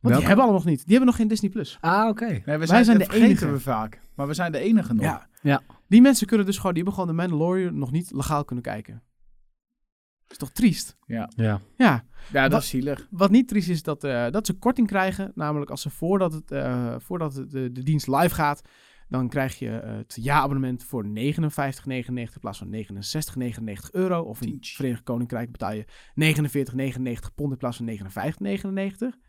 die
Welke?
hebben allemaal nog niet. Die hebben nog geen Disney Plus.
Ah, oké.
Nee, we
eh, wij
zijn,
zijn
dat
de
vergeten
enige.
we vaak. Maar we zijn de enige nog.
Ja.
Ja.
Die mensen kunnen dus gewoon, die hebben gewoon de Mandalorian nog niet legaal kunnen kijken. Dat is toch triest?
Ja.
Ja.
Ja, dat
Wat-
is zielig.
Wat niet triest is dat, eh, dat ze korting krijgen. Namelijk als ze voordat, het, eh, voordat het, de, de dienst live gaat, dan krijg je eh, het jaarabonnement voor 59,99 in plaats van 69,99 euro. Of in het
Tientje.
Verenigd Koninkrijk betaal je 49,99 pond in plaats van 59,99.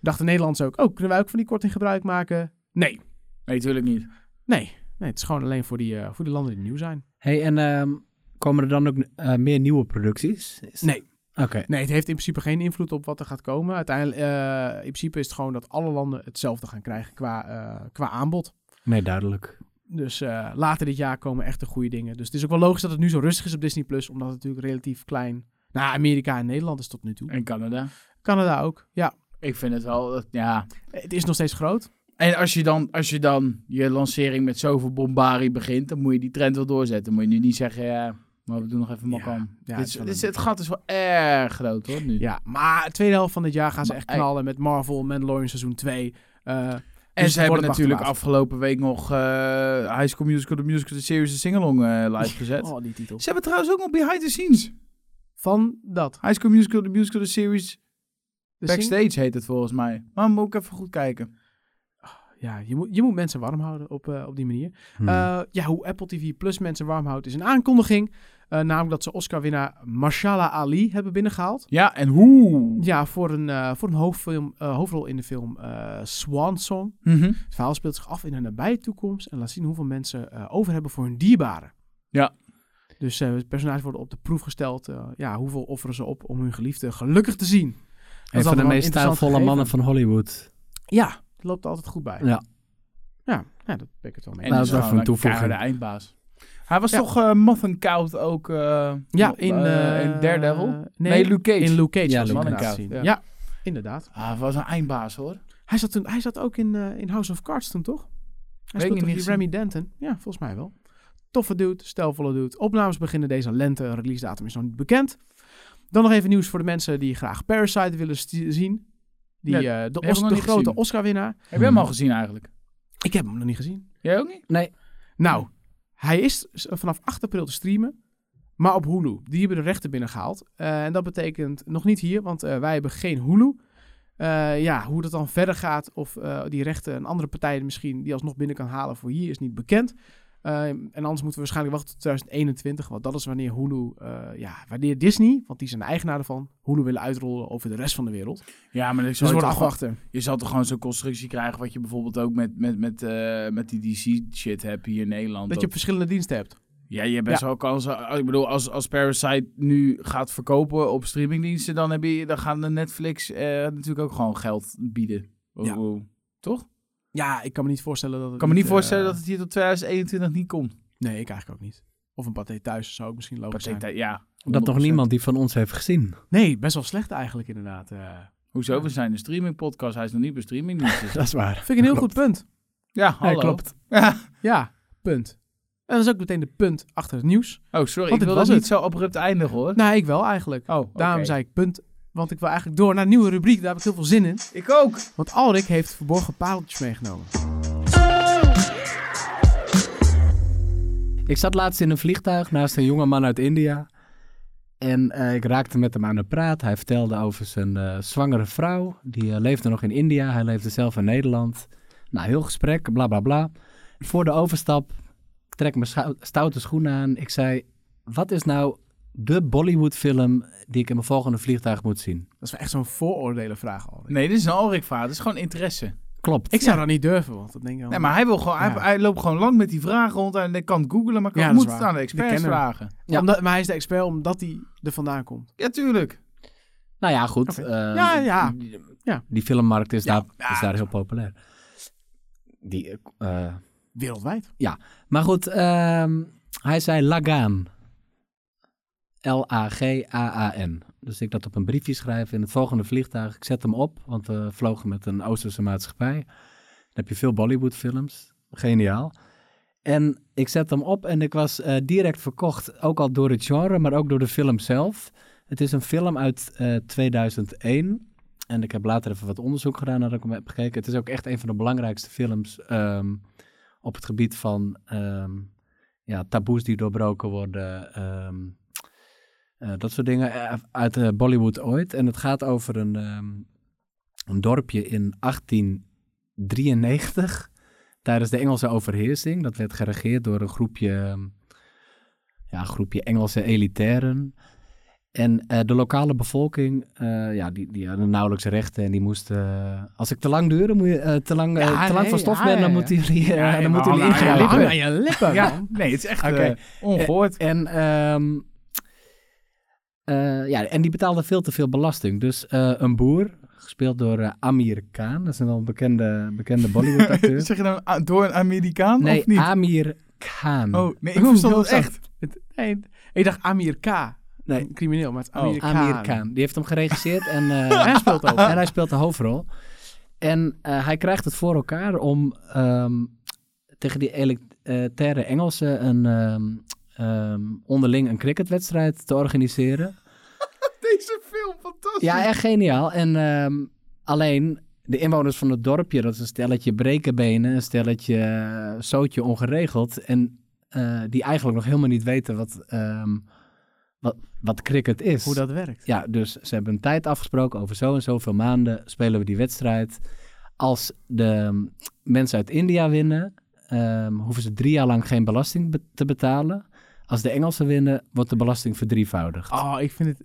Dacht de Nederlanders ook, oh, kunnen wij ook van die korting gebruik maken? Nee,
Nee, tuurlijk niet.
nee. Nee, het is gewoon alleen voor die, eh, voor die landen die nieuw zijn.
Hey, en ehm, komen er dan ook eh, meer nieuwe producties? Is-
Nee.
Oké.
Nee, het heeft in principe geen invloed op wat er gaat komen. Uiteindelijk, eh, in principe is het gewoon dat alle landen hetzelfde gaan krijgen qua, eh, qua aanbod.
Nee, duidelijk.
Dus eh, later dit jaar komen echt de goede dingen. Dus het is ook wel logisch dat het nu zo rustig is op Disney Plus, omdat het natuurlijk relatief klein. Nou, Amerika en Nederland is tot nu toe.
En Canada.
Canada ook. Ja,
Ik vind het wel, dat- ja.
het is nog steeds groot.
En als je, dan, als je dan je lancering met zoveel bombarie begint, dan moet je die trend wel doorzetten. Dan moet je nu niet zeggen, ja, maar we doen nog even
Ja,
makam.
ja,
dit
het
is,
is wel
dit is-
een-
het gat is wel erg groot, hoor, nu.
Ja, maar de tweede helft van dit jaar gaan ze
Maar
echt
hij-
knallen met Marvel, Mandalorian seizoen 2. eh,
En
Dus
ze
het
hebben
wordt
natuurlijk
wachten
afgelopen week nog eh High School Musical, de Musical, de Series, de Singalong eh, live gezet.
oh, die titel.
Ze hebben trouwens ook nog Behind the Scenes.
Van dat.
High School Musical, de Musical, de Series,
De sing-
Backstage heet het volgens mij. Maar moet ik even goed kijken.
ja, je moet, je moet mensen warm houden op, eh, op die manier.
Hmm.
Eh, ja, hoe Apple TV Plus mensen warm houdt is een aankondiging. Eh, namelijk dat ze Oscar-winnaar Marshala Ali hebben binnengehaald.
Ja, en hoe?
Ja, voor een, eh, voor een hoofdfilm, eh, hoofdrol in de film eh, Swan Song.
Mhm.
Het verhaal speelt zich af in een nabije toekomst en laat zien hoeveel mensen eh, over hebben voor hun dierbaren.
Ja.
Dus eh personages worden op de proef gesteld. eh, ja, hoeveel offeren ze op om hun geliefde gelukkig te zien? Dat
een
is
van de
allemaal
meest
interessant
stijlvolle
gegeven.
mannen van Hollywood.
Ja, dat loopt er altijd goed bij.
Ja.
Ja, ja dat ben ik het wel mee.
En dat
Nou, dat
is
is wel
gewoon een
een toevoeging.
keiharde eindbaas. Hij was
Ja.
toch eh Moth and Cout ook eh,
ja,
op,
in,
eh,
eh,
in Daredevil? Nee,
Nee,
Luke Cage.
in Luke Cage.
Ja,
was
Luke
hem inderdaad
Cage.
te zien.
Ja.
Ja. inderdaad.
Ah, hij was een eindbaas hoor.
Hij zat, toen, hij zat ook in, eh, in House of Cards toen, toch? Hij
ik niet
speelt toch die
gezien.
Remy Denton? Ja, volgens mij wel. Toffe dude, stijlvolle dude. Opnames beginnen deze lente, release datum is nog niet bekend. Dan nog even nieuws voor de mensen die graag Parasite willen sti- zien. Die,
Ja,
eh, de
nog
Os- de
niet
grote
gezien.
Oscar-winnaar.
Heb jij hem al gezien eigenlijk?
Ik heb hem nog niet gezien.
Jij ook niet?
Nee,
Nou, hij is s- vanaf 8 april te streamen. Maar op Hulu. Die hebben de rechten binnengehaald. Eh, en dat betekent nog niet hier, want eh, wij hebben geen Hulu. Eh, ja, hoe dat dan verder gaat, of eh, die rechten een andere partij misschien die alsnog binnen kan halen voor hier, is niet bekend. Eh, en anders moeten we waarschijnlijk wachten tot 2021, want dat is wanneer Hulu, eh, ja, wanneer Disney, want die zijn de eigenaar ervan, Hulu willen uitrollen over de rest van de wereld. Dus
Ja, maar ik
we
zou
moeten
toch gewoon-
afwachten.
je zal toch gewoon zo'n constructie krijgen wat je bijvoorbeeld ook met, met, met, eh, met die DC-shit hebt hier in Nederland.
Dat je verschillende diensten hebt.
Ja, je hebt best wel kans. Eh, Ik bedoel, als, als Parasite nu gaat verkopen op streamingdiensten, dan, heb je, dan gaan de Netflix eh, natuurlijk ook gewoon geld bieden. Ik
Ja.
bedoel, Toch?
Ja, ik kan me niet voorstellen dat. het
Ik kan me niet
eh,
voorstellen dat het hier tot 2021 niet komt.
Nee, ik eigenlijk ook niet. Of een paté thuis zou ook misschien lopen.
Pathé- ja.
dat toch
100%.
niemand die van ons heeft gezien.
Nee, best wel slecht eigenlijk inderdaad. eh.
Hoezo? We zijn een streamingpodcast. Hij is nog niet bij streamingdiensten.
Dat is waar.
vind ik een heel goed punt.
ja, hallo.
klopt.
Ja.
Ja, punt. En dat is ook meteen de punt achter het nieuws.
Oh, sorry.
dit
ik wil
was
dat niet
het.
zo abrupt eindigen, hoor.
Nou, ik wel eigenlijk.
oh, oké.
Daarom zei ik punt, want ik wil eigenlijk door naar een nieuwe rubriek. Daar heb ik heel veel zin in.
Ik ook.
Want Alrik heeft verborgen pareltjes meegenomen.
Ik zat laatst in een vliegtuig naast een jonge man uit India. En eh, ik raakte met hem aan de praat. Hij vertelde over zijn eh, zwangere vrouw. Die eh, leefde nog in India. Hij leefde zelf in Nederland. Nou, heel gesprek, bla bla bla. Voor de overstap trek ik mijn schou- stoute schoen aan. Ik zei, wat is nou de Bollywood film die ik in mijn volgende vierenvliegtuig moet zien?
Dat is wel echt zo'n vooroordelenvraag al.
Nee, dit is een Alrik-vraag. Dit is gewoon interesse.
Klopt.
Ik zou dat niet durven, want dat denk ik wel.
Nee, maar hij, wil gewoon, hij,
Ja.
hij loopt gewoon lang met die vragen rond. En hij kan het googlen, maar kan,
Ja, dat is
moet het
waar.
aan de
Die
experts
kennen hem.
vragen.
Ja.
Omdat, maar hij is de expert omdat hij er vandaan komt.
Ja, tuurlijk.
Nou ja, goed.
Oké.
eh,
Ja, ja.
Die,
Ja.
die filmmarkt is
Ja,
daar,
ja,
is
dat
daar heel populair. Die, eh, eh,
Wereldwijd.
maar goed, ehm, hij zei Lagaan. L-A-G-A-A-N. Dus ik dat op een briefje schrijf in het volgende vliegtuig. Ik zet hem op, want we vlogen met een Oosterse maatschappij. Dan heb je veel Bollywood-films. Geniaal. En ik zet hem op en ik was eh, direct verkocht. Ook al door het genre, maar ook door de film zelf. Het is een film uit eh, 2001. En ik heb later even wat onderzoek gedaan nadat ik hem heb gekeken. Het is ook echt een van de belangrijkste films ehm, op het gebied van ehm, ja, taboes die doorbroken worden. ehm, eh, dat soort dingen eh, uit eh, Bollywood ooit. En het gaat over een, ehm, een dorpje in 1893 tijdens de Engelse overheersing. Dat werd geregeerd door een groepje, ehm, ja, een groepje Engelse elitairen. En eh, de lokale bevolking, eh, ja, die, die hadden nauwelijks rechten en die moesten... eh, als ik te lang duurde, moet je, eh, te lang, eh,
Ja,
te lang
nee,
van stof
ja,
ben, dan
ja,
moeten jullie, eh,
Ja,
dan
helemaal
moeten jullie
aan je
Ja,
ingrijpen.
hang aan je lippen,
Ja,
man.
nee, het is echt
Oké.
eh, ongehoord.
En, ehm, eh, ja, en die betaalde veel te veel belasting. Dus eh, een boer, gespeeld door eh, Amir Khan, dat is een wel bekende, bekende
Eh,
Bollywood-acteur.
zeg je dan a- door een Amerikaan
nee,
of niet?
Amir Khan.
oh, nee, ik
Oeh,
verstond
ah. heel
het echt.
Het- nee, ik dacht Amir K.
Nee.
Een crimineel, maar het is
Oh,
Amir K.
Amir Khan. Die heeft hem geregisseerd en, eh,
Hij speelt ook.
en hij speelt de hoofdrol. En eh, hij krijgt het voor elkaar om ehm, tegen die elitaire Engelsen een, ehm, ehm, onderling een cricketwedstrijd te organiseren.
Deze film, fantastisch.
Ja, echt geniaal. En ehm, alleen de inwoners van het dorpje, dat is een stelletje brekenbenen, een stelletje eh, zootje ongeregeld. En eh, die eigenlijk nog helemaal niet weten wat, ehm, wat, wat cricket is.
Hoe dat werkt.
Ja, dus ze hebben een tijd afgesproken over zo en zoveel maanden spelen we die wedstrijd. Als de ehm, mensen uit India winnen, ehm, hoeven ze drie jaar lang geen belasting be- te betalen. Als de Engelsen winnen, wordt de belasting verdrievoudigd.
Oh, ik vind het...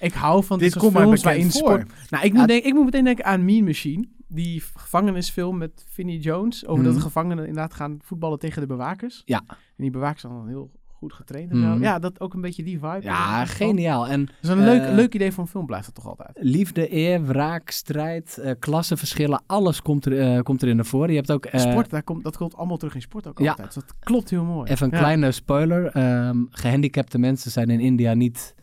Ik hou van dit
Dit
soort
komt mij
films waarin
bekend voor.
sport... Nou, ik moet,
Ja,
denk, ik moet meteen denken aan Mean Machine. Die gevangenisfilm met Vinnie Jones. Over dat
Mhm.
de gevangenen inderdaad gaan voetballen tegen de bewakers.
Ja.
En die bewakers zijn dan heel goed getraind.
Mhm.
hebben. Ja, dat ook een beetje die vibe.
Ja,
geen.
geniaal. En
Dat is een leuk,
Eh,
leuk idee voor een film, blijft het toch altijd.
Liefde, eer, wraak, strijd, eh klassenverschillen, alles komt, er, eh, komt erin naar voren. Je hebt ook eh,
sport, daar komt, dat komt allemaal terug in sport ook
ja.
altijd. Dus dat klopt heel mooi.
even een
Ja.
kleine spoiler. ehm, gehandicapte mensen zijn in India niet,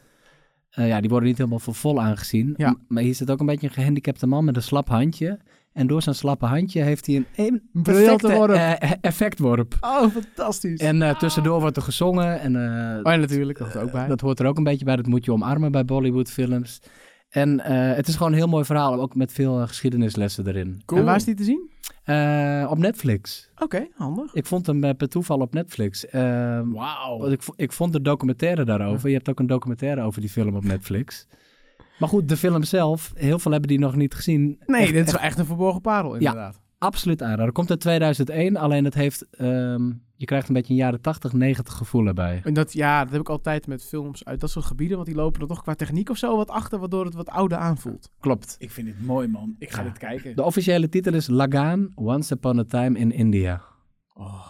eh, ja, die worden niet helemaal voor vol aangezien.
Ja.
M- Maar hier zit ook een beetje een gehandicapte man met een slap handje. En door zijn slappe handje heeft hij een, een
Briljante
perfecte,
worp.
eh, effectworp.
Oh, fantastisch.
En eh, tussendoor wordt er gezongen en eh,
oh, ja, natuurlijk. Dat hoort er ook bij.
Dat hoort er ook een beetje bij. Dat moet je omarmen bij Bollywood films. En eh, het is gewoon een heel mooi verhaal, ook met veel eh, geschiedenislessen erin.
En waar is die te zien?
Eh, op Netflix.
Oké, handig.
Ik vond hem eh, per toeval op Netflix. Ehm,
Wauw.
want ik, vo- ik vond de documentaire daarover. Je hebt ook een documentaire over die film op Netflix. Maar goed, de film zelf, heel veel hebben die nog niet gezien. Eh,
Nee, dit is wel echt een verborgen parel, inderdaad.
Absoluut aanrader. Komt uit 2001, alleen het heeft, ehm, je krijgt een beetje een jaren 80, 90 gevoel erbij.
En dat, ja, dat heb ik altijd met films uit dat soort gebieden, want die lopen er toch qua techniek of zo wat achter, waardoor het wat ouder aanvoelt.
Klopt.
Ik vind dit mooi, man. Ik ga
Ja.
dit kijken.
De officiële titel is Lagan, Once Upon a Time in India.
Oh.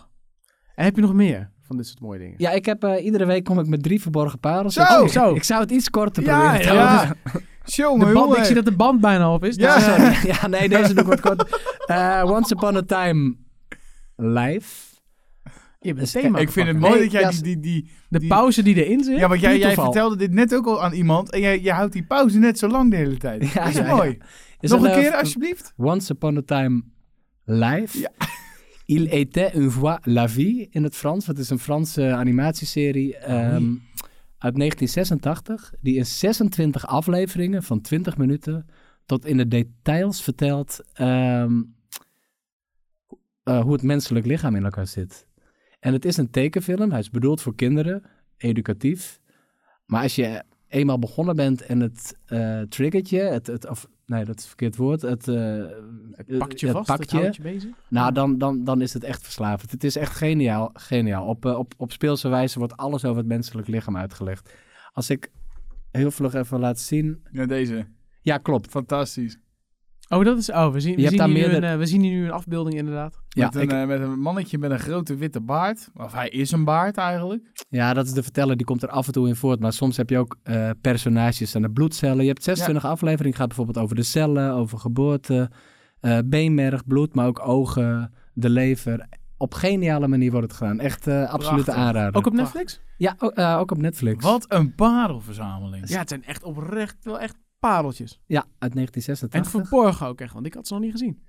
En heb je nog meer van dit soort mooie dingen? Oh,
Ja, ik heb, eh, iedere week kom ik met drie verborgen parels.
Zo!
Ik,
Zo.
ik zou het iets korter
Ja,
proberen te houden.
ja. Jongen,
de band, ik
jongen.
zie dat de band bijna op is.
Ja.
Ja.
Sorry. ja, nee, deze doe ik wat kort. Eh, Once Upon a Time Live.
Je hebt een
Dus,
thema.
Ik vind het
gepakken.
mooi
Nee,
dat jij
ja,
die, die, die-
De
die-
pauze die erin zit.
Ja, want jij,
puur
jij
toeval.
vertelde dit net ook al aan iemand. En jij, jij houdt die pauze net zo lang de hele tijd.
Ja,
dat is
ja, ja.
mooi.
Is
Nog
dat,
een
eh,
keer, alsjeblieft.
Once Upon a Time Live.
Ja.
Il était une fois la vie in het Frans. Dat is een Franse animatieserie
Ah,
ehm, uit 1986. Die in 26 afleveringen van 20 minuten tot in de details vertelt ehm, eh, hoe het menselijk lichaam in elkaar zit. En het is een tekenfilm. Hij is bedoeld voor kinderen, educatief. Maar als je eenmaal begonnen bent en het eh triggertje, het, het, of nee, dat is het verkeerd woord, het, eh,
Het pakt je
het
vast,
pakt
het
je.
houdt je bezig.
nou, dan, dan, dan is het echt verslavend. Het is echt geniaal. geniaal. Op, eh, op, op speelse wijze wordt alles over het menselijk lichaam uitgelegd. Als ik heel vlug even laat zien.
Ja, deze.
Ja, klopt.
Fantastisch.
Oh, dat is... Oh, we zien,
Je
we
hebt
zien,
daar
hier, nu
meerdere-
een, eh, we zien hier nu een afbeelding inderdaad.
Ja,
met, een,
ik-
eh, met een mannetje met een grote witte baard. Of hij is een baard eigenlijk.
ja, dat is de verteller. Die komt er af en toe in voort. Maar soms heb je ook eh, personages aan de bloedcellen. Je hebt 26 afleveringen. Gaat bijvoorbeeld over de cellen, over geboorte, eh, beenmerg, bloed, maar ook ogen, de lever. Op geniale manier wordt het gedaan. Echt eh absolute
Prachtig.
aanrader.
Ook op Netflix?
Ja, o- eh, ook op Netflix.
Wat een parelverzameling.
Ja, het zijn echt oprecht wel echt pareltjes.
Ja, uit
En
1986.
verborgen ook echt, want ik had ze nog niet gezien.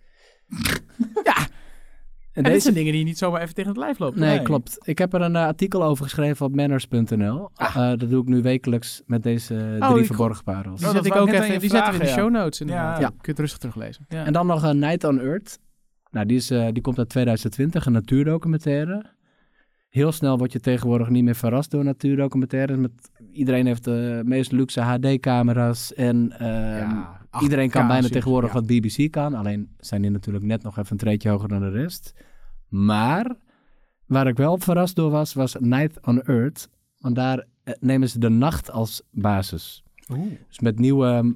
En
En, dit zijn dingen die je niet zomaar even tegen het lijf loopt.
Nee,
Nee.
klopt. Ik heb er een eh, artikel over geschreven op manners.nl. Eh, dat doe ik nu wekelijks met deze
Ah. Oh,
drie
ik-
verborgen parels.
Die,
Oh, dat
zet ik
wou
ook
ik net
even,
aan je
die zetten we in de
vragen,
show notes inderdaad.
Ja.
Kun je het rustig teruglezen.
Ja.
En dan nog een Night on Earth. Nou, die, is, eh, die komt uit 2020, een natuurdocumentaire. Heel snel word je tegenwoordig niet meer verrast door natuurdocumentaires. Met, iedereen heeft de meest luxe HD-camera's. En ehm,
Ja, 8K
iedereen kan bijna
series,
tegenwoordig
ja.
wat BBC kan. Alleen zijn die natuurlijk net nog even een treetje hoger dan de rest. Maar waar ik wel verrast door was, was Night on Earth. Want daar eh, nemen ze de nacht als basis. Dus met nieuwe, ehm,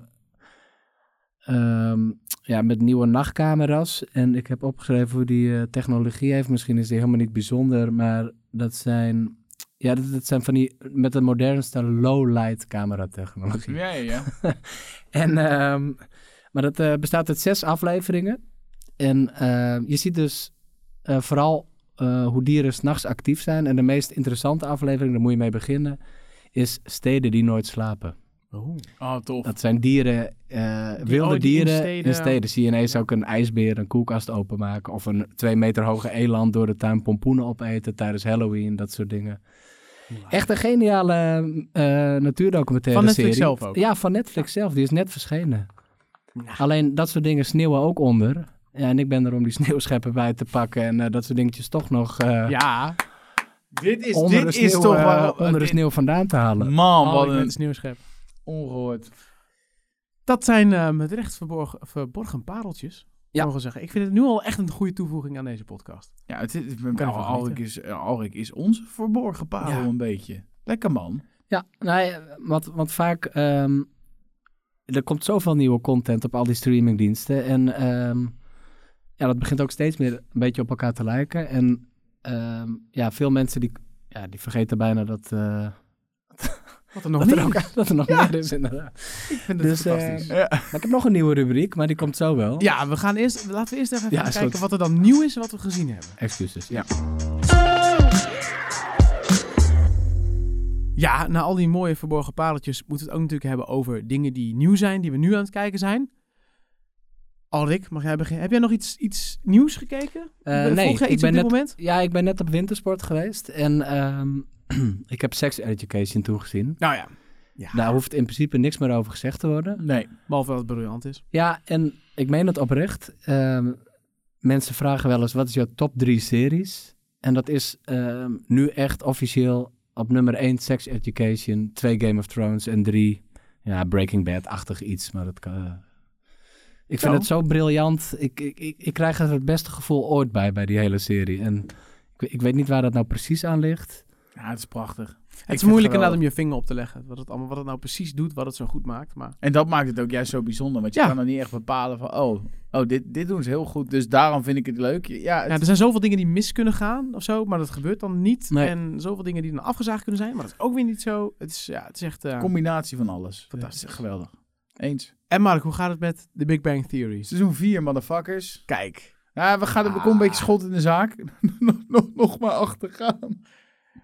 ehm, ja, met nieuwe nachtcamera's. En ik heb opgeschreven hoe die eh, technologie heeft. Misschien is die helemaal niet bijzonder, maar dat zijn, ja, dat, dat zijn van die met de modernste low-light camera technologie.
Ja, ja, ja.
En, ehm, maar dat eh, bestaat uit zes afleveringen. En ehm, je ziet dus eh, vooral eh, hoe dieren s'nachts actief zijn. En de meest interessante aflevering, daar moet je mee beginnen, is steden die nooit slapen.
Oeh.
Oh, tof.
Dat zijn dieren, eh, wilde
oh, die in
dieren in
steden-
steden. Zie je ineens
Ja.
ook een ijsbeer een koelkast openmaken. Of een twee meter hoge eland door de tuin pompoenen opeten tijdens Halloween. Dat soort dingen. Echt een geniale eh, natuurdocumentaire
Van Netflix
serie.
zelf ook?
Ja, van Netflix zelf. Die is net verschenen. Alleen dat soort dingen sneeuwen ook onder. Ja, en ik ben er om die sneeuwscheppen bij te pakken. En eh, dat soort dingetjes toch nog eh,
Ja,
Dit is,
onder, de
dit
sneeuw,
is toch
eh,
wel...
onder de
dit-
sneeuw vandaan te halen.
Man,
oh,
wat
ik ben een
een
sneeuwschep.
ongehoord.
Dat zijn eh, met recht verborgen, verborgen pareltjes,
Ja.
mogen we zeggen. Ik vind het nu al echt een goede toevoeging aan deze podcast.
Ja, het, is-
ik wel
Al- Alrik is, Alrik is onze verborgen parel
Ja.
een beetje. Lekker man.
Ja, nou ja, want, want vaak... ehm, er komt zoveel nieuwe content op al die streamingdiensten. En ehm, ja, dat begint ook steeds meer een beetje op elkaar te lijken. En ehm, ja, veel mensen die, ja, die vergeten bijna dat, eh,
Wat er nog
dat,
niet.
er ook, dat er nog meer is, inderdaad.
Ik vind
Dus, eh,
Ja.
Maar ik heb nog een nieuwe rubriek, maar die komt zo wel.
ja, we gaan eerst, laten we eerst even
Ja,
gaan
is
kijken
goed.
wat er dan nieuw is en wat we gezien hebben.
Excuses. Ja.
Ja, na al die mooie verborgen pareltjes moeten we het ook natuurlijk hebben over dingen die nieuw zijn, die we nu aan het kijken zijn. Alrik, mag jij beginnen? Heb jij nog iets, iets nieuws gekeken?
Eh,
Volg
nee,
jij
ik
iets
ben
op dit
net-
moment?
ja, ik ben net op wintersport geweest en ehm, ik heb Sex Education toegezien.
Nou ja,
Daar hoeft in principe niks meer over gezegd te worden.
Nee.
behalve dat het briljant is.
Ja, en ik meen het oprecht. Ehm, mensen vragen wel eens, wat is jouw top drie series? En dat is ehm, nu echt officieel op nummer één Sex Education, twee Game of Thrones en drie ja, Breaking Bad-achtig iets. Maar dat kan... eh. ik vind
Nou.
het zo briljant. Ik, ik, ik, ik krijg er het beste gevoel ooit bij, bij die hele serie. En ik, ik weet niet waar dat nou precies aan ligt.
Ja, het is prachtig.
Het is moeilijk inderdaad om je vinger op te leggen. Wat het, allemaal, wat het nou precies doet, wat het zo goed maakt. Maar
En dat maakt het ook juist zo bijzonder. Want je
Ja.
kan dan niet echt bepalen van... Oh, oh dit, dit doen ze heel goed. Dus daarom vind ik het leuk. Ja,
ja,
het-
er zijn zoveel dingen die mis kunnen gaan of zo, maar dat gebeurt dan niet.
Nee.
En zoveel dingen die dan afgezaagd kunnen zijn, maar dat is ook weer niet zo. Het is, ja, het is echt... eh,
combinatie van alles.
Fantastisch.
Het is geweldig. Eens.
En Mark, hoe gaat het met de Big Bang Theory?
Seizoen 4, motherfuckers.
Kijk.
Ja, we gaan er we komen een beetje schot in de zaak. nog, nog, nog maar achtergaan.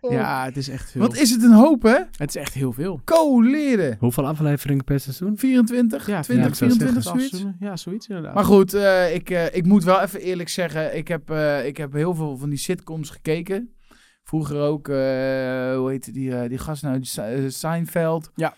Oh.
Ja, het is echt veel.
Wat is het een hoop, hè?
Het is echt heel veel.
Ko leren.
Hoeveel afleveringen per seizoen?
24,
Ja,
20,
ja, ik zou
24,
Twaalf
zoiets.
seizoenen. Ja, zoiets inderdaad.
Maar goed, eh, ik, eh, ik moet wel even eerlijk zeggen, ik heb, eh, ik heb heel veel van die sitcoms gekeken. Vroeger ook, eh, hoe heette die, eh, die gast nou, Se- eh, Seinfeld.
Ja.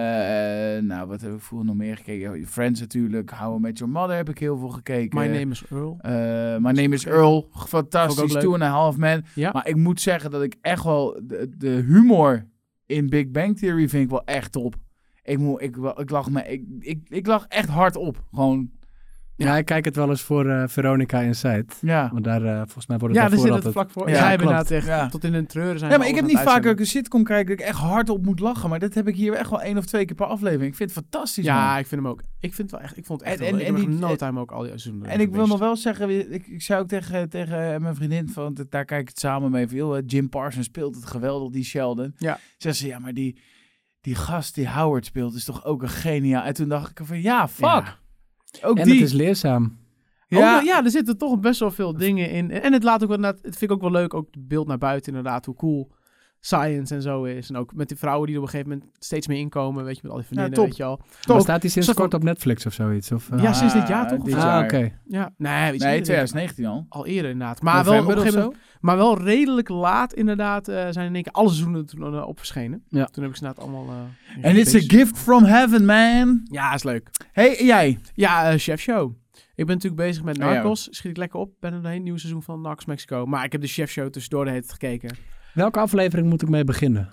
Eh, nou, wat heb ik vroeger nog meer gekeken? Friends natuurlijk, How I Met Your Mother heb ik heel veel gekeken.
My Name is Earl.
Eh, My Name is Earl,
Vond ik
fantastisch,
ook
Two and a Half Men.
Ja.
Maar ik moet zeggen dat ik echt wel, de, de humor in Big Bang Theory vind ik wel echt top. Ik, moet, ik, ik, lag, me, ik, ik, ik lag echt hard op, gewoon,
Ja, ik kijk het wel eens voor eh, Veronica Inside.
ja.
Want daar, eh, volgens mij wordt het
Ja, daar
daarvoor
zit het
altijd-
vlak voor.
Ja,
Ja,
klopt.
inderdaad echt
Ja.
tot in een treuren zijn.
Ja,
we
maar ik heb
alles
niet
aan het
vaak dat ik
uitzenden.
een sitcom kijk dat ik echt hard op moet lachen. Maar dat heb ik hier echt wel één of twee keer per aflevering. Ik vind het fantastisch, man.
Ja, ik vind hem ook. Ik vind het wel echt. Ik vond het echt.
En-
En,
en-
en,
en
die
die-
no time ook al die seizoenen.
En ik wil nog wel zeggen, ik, ik zei ook tegen, tegen mijn vriendin, van, dat- daar kijk ik het samen mee. Van, joh, eh, Jim Parsons speelt het geweldig, die Sheldon.
Ja.
Zei ze, ja, maar die, die gast die Howard speelt is toch ook een geniaal. En toen dacht ik van, ja, fuck. Ook
En
die.
het is leerzaam.
Ja.
ja,
Oh, ja, er zitten toch best wel veel dingen in. En het laat ook wel inderdaad. Het vind ik ook wel leuk. Ook het beeld naar buiten, inderdaad. Hoe cool science en zo is. En ook met die vrouwen die er op een gegeven moment steeds meer inkomen. Weet je, met al die vriendinnen.
top.
Weet je al.
Maar
Toch.
staat die sinds
Soort van-
kort op Netflix of zoiets? Of, eh?
Ja, sinds dit jaar
Ah,
toch? Of
dit
zo?
jaar.
ah, oké.
Ja, nee, weet je,
Nee,
eerder.
2019 al.
Al eerder inderdaad. Maar wel, op een
November
gegeven
of
moment, maar wel redelijk laat inderdaad eh, zijn in één keer alle seizoenen toen eh, op verschenen.
Ja.
Toen heb ik ze inderdaad allemaal... eh, in
En it's a
gepitcht.
gift from heaven, man.
Ja, is leuk.
Hey, en jij?
Ja, eh, Chef Show. Ik ben natuurlijk bezig met
Oh, ja.
Narcos. Schiet ik lekker op. Ben er een heel nieuw seizoen van Narcos Mexico. Maar ik heb de Chef Show tussendoor de hele tijd gekeken.
Welke aflevering moet ik mee beginnen?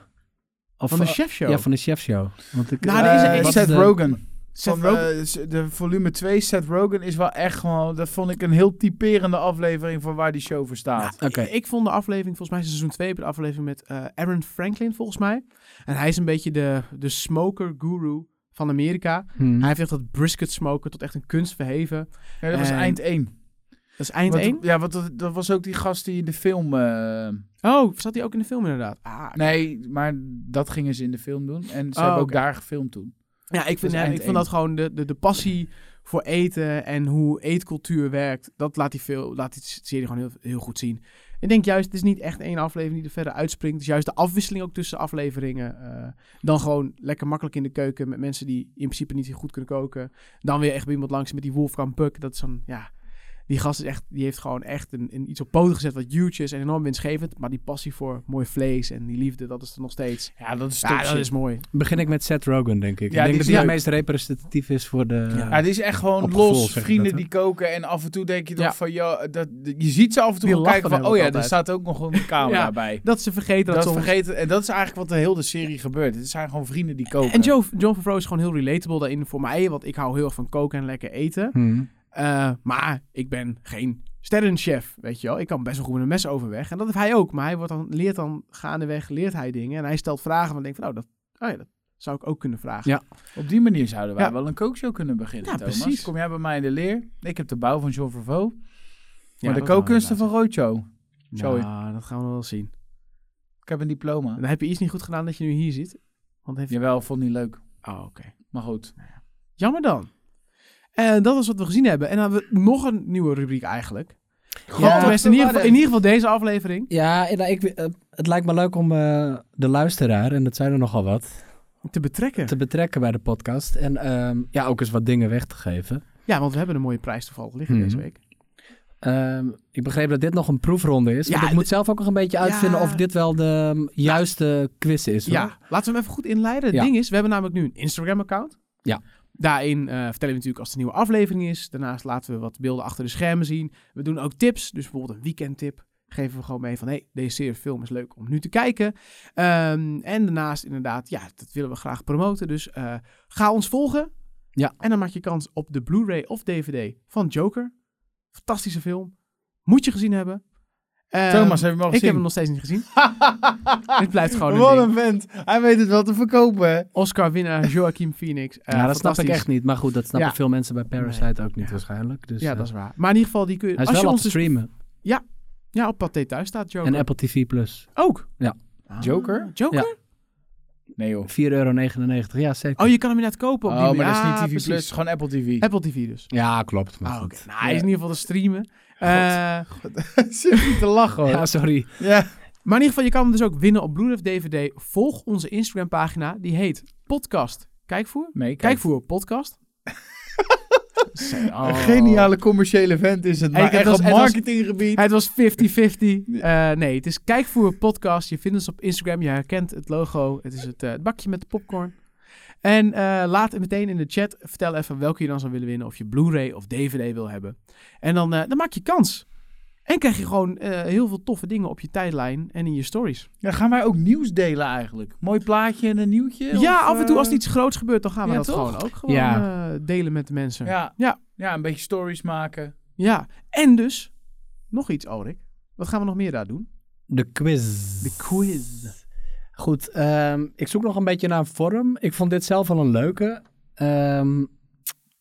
Of,
Van de
eh,
Chef Show?
Ja, van de chefshow. Want ik,
Nou, er is
Eh,
er-
wat
Seth
de-
Rogen.
Seth
van,
Rogen.
eh, s- de volume 2, Seth Rogen, is wel echt gewoon... Dat vond ik een heel typerende aflevering van waar die show voor staat.
Nou,
Oké.
ik, ik vond de aflevering, volgens mij seizoen 2, de aflevering met eh, Aaron Franklin, volgens mij. En hij is een beetje de, de smoker guru van Amerika.
Hmm.
Hij heeft echt dat brisket smoken tot echt een kunst verheven.
Ja, dat was
en-
eind 1.
Dat is eh, eind 1.
Ja, want dat, dat was ook die gast die in de film... eh,
Oh, zat hij ook in de film inderdaad? Ah,
nee, maar dat gingen ze in de film doen. En ze
Oh,
hebben ook
oké.
daar gefilmd toen.
Ja, ik
Dat
vind,
is
ja,
eind
ik vind dat gewoon de, de, de passie voor eten en hoe eetcultuur werkt. Dat laat die, veel, laat die serie gewoon heel, heel goed zien. Ik denk juist, het is niet echt één aflevering die er verder uitspringt. Dus juist de afwisseling ook tussen afleveringen. eh, dan gewoon lekker makkelijk in de keuken met mensen die in principe niet heel goed kunnen koken. Dan weer echt bij iemand langs met die Wolfgang Puck. Dat is zo'n, ja... Die gast is echt, die heeft gewoon echt een, een iets op poten gezet wat huge is en enorm winstgevend. Maar die passie voor mooi vlees en die liefde, dat is er nog steeds.
Ja, dat is
Ja, dat is mooi.
Begin ik met Seth Rogen, denk ik.
Ja,
ik
die
denk
is
dat hij het
leuk.
meest representatief is voor de...
Ja, die is echt gewoon
Op gevoel,
los,
zeg je
vrienden
dat, hè?
die koken en af en toe denk je toch
Ja.
van, ja, dat, je ziet ze af en toe
Die
wel
lachen
kijken van,
dan
oh
ook
ja, er
altijd.
staat ook nog een camera
Ja.
bij.
Dat ze vergeten dat,
Dat,
ze soms
vergeten, en dat is eigenlijk wat de hele serie gebeurt. Het zijn gewoon vrienden die koken.
En Joe, John Favreau is gewoon heel relatable daarin voor mij, want ik hou heel erg van koken en lekker eten.
Hmm.
Eh, maar ik ben geen sterrenchef, weet je wel. Ik kan best wel goed met een mes overweg. En dat heeft hij ook, maar hij wordt dan, leert dan gaandeweg, leert hij dingen. En hij stelt vragen van, denk van, nou, dat, oh ja, dat zou ik ook kunnen vragen.
Ja.
Op die manier zouden wij
Ja.
wel een kookshow kunnen beginnen,
Ja,
Thomas.
precies.
Kom jij bij mij in de leer. Ik heb de bouw van Jean Favreau.
Ja,
Maar de
dat gaan we
kookkunsten van
inderdaad
Rocho.
zien.
Sorry.
Nou, dat gaan we wel zien.
Ik heb een diploma.
Dan heb je iets niet goed gedaan dat je nu hier zit. Want heeft...
Jawel, vond niet leuk.
Oh, oké.
Maar goed.
Jammer dan. En dat is wat we gezien hebben. En dan hebben we nog een nieuwe rubriek eigenlijk.
Ja,
Tenminste, in, ieder geval, in ieder geval deze aflevering.
Ja, en, nou, ik, eh, het lijkt me leuk om eh, de luisteraar, en dat zijn er nogal wat,
Te betrekken.
te betrekken bij de podcast. En ehm, ja, ook eens wat dingen weg te geven.
Ja, want we hebben een mooie prijs toevallig liggen
Mhm.
deze week.
Ehm, ik begreep dat dit nog een proefronde is.
Ja,
want ik
d-
moet zelf ook nog een beetje uitvinden
Ja.
of dit wel de ehm, juiste quiz is. hoor.
Ja, laten we hem even goed inleiden. Het
Ja.
ding is, we hebben namelijk nu een Instagram-account.
Ja.
Daarin eh, vertellen we natuurlijk als er een nieuwe aflevering is. Daarnaast laten we wat beelden achter de schermen zien. We doen ook tips, dus bijvoorbeeld een weekendtip. Geven we gewoon mee van, hé, hey, deze serie of film is leuk om nu te kijken. Ehm, en daarnaast inderdaad, ja, dat willen we graag promoten. Dus eh, ga ons volgen.
Ja.
En dan maak je kans op de Blu-ray of DVD van Joker. Fantastische film. Moet je gezien hebben. Ehm,
Thomas heeft hem al
ik heb
gezien.
hem nog Oh, steeds niet gezien. Het blijft gewoon een
Wat
ding.
een vent. Hij weet het wel te verkopen. hè.
Oscar-winnaar Joaquin Phoenix. Eh,
ja, Nou, dat snap ik
fantastisch.
echt niet. Maar goed, dat snappen
Ja.
veel mensen bij Parasite ook niet
Ja.
waarschijnlijk. Dus,
Ja,
eh,
dat is waar. Maar in ieder geval, die kun je...
Hij is
als
wel
je
op
ons
te
dus
streamen.
Ja, op Pathé Thuis staat Joker.
En Apple TV+. Plus.
Ook?
Ja.
Ah,
Joker?
Joker?
Nee joh.
4,99 euro. Ja, zeker.
Oh, je kan hem inderdaad kopen op
Oh,
die
maar dat is
ja,
niet TV+,
precies.
Plus, gewoon Apple TV.
Apple TV dus.
Ja, klopt. Maar
Ah,
goed.
oké. Nou, hij is in ieder geval te streamen. Eh,
Zit niet te lachen hoor.
Ja, sorry.
Ja.
maar in ieder geval, je kan hem dus ook winnen op Blu-ray of DVD. Volg onze Instagram pagina. Die heet Podcast Kijkvoer.
Nee, kijk.
Kijkvoer podcast. Zo, oh.
Een geniale commerciële vent is het.
Hey,
Maar
kijk,
echt
dat
op
is- dat is-
marketinggebied.
Het was 50-50. Eh, nee, het is Kijkvoer Podcast. Je vindt ons op Instagram. Je herkent het logo. Het is het, eh, het bakje met de popcorn. En eh, laat het meteen in de chat. Vertel even welke je dan zou willen winnen. Of je Blu-ray of DVD wil hebben. En dan, eh, dan maak je kans. En krijg je gewoon eh, heel veel toffe dingen op je tijdlijn en in je stories.
Ja, gaan wij ook nieuws delen eigenlijk? Mooi plaatje en een nieuwtje?
ja,
of,
af en toe
eh,
als er iets groots gebeurt, dan gaan we
ja,
dat
toch?
gewoon ook gewoon,
Ja.
eh, delen met de mensen.
Ja.
Ja.
Ja. een beetje stories maken.
Ja, en dus, nog iets, Alrik. Wat gaan we nog meer daar doen?
De quiz.
De quiz.
Goed, ehm, ik zoek nog een beetje naar een vorm. Ik vond dit zelf wel een leuke. Ehm,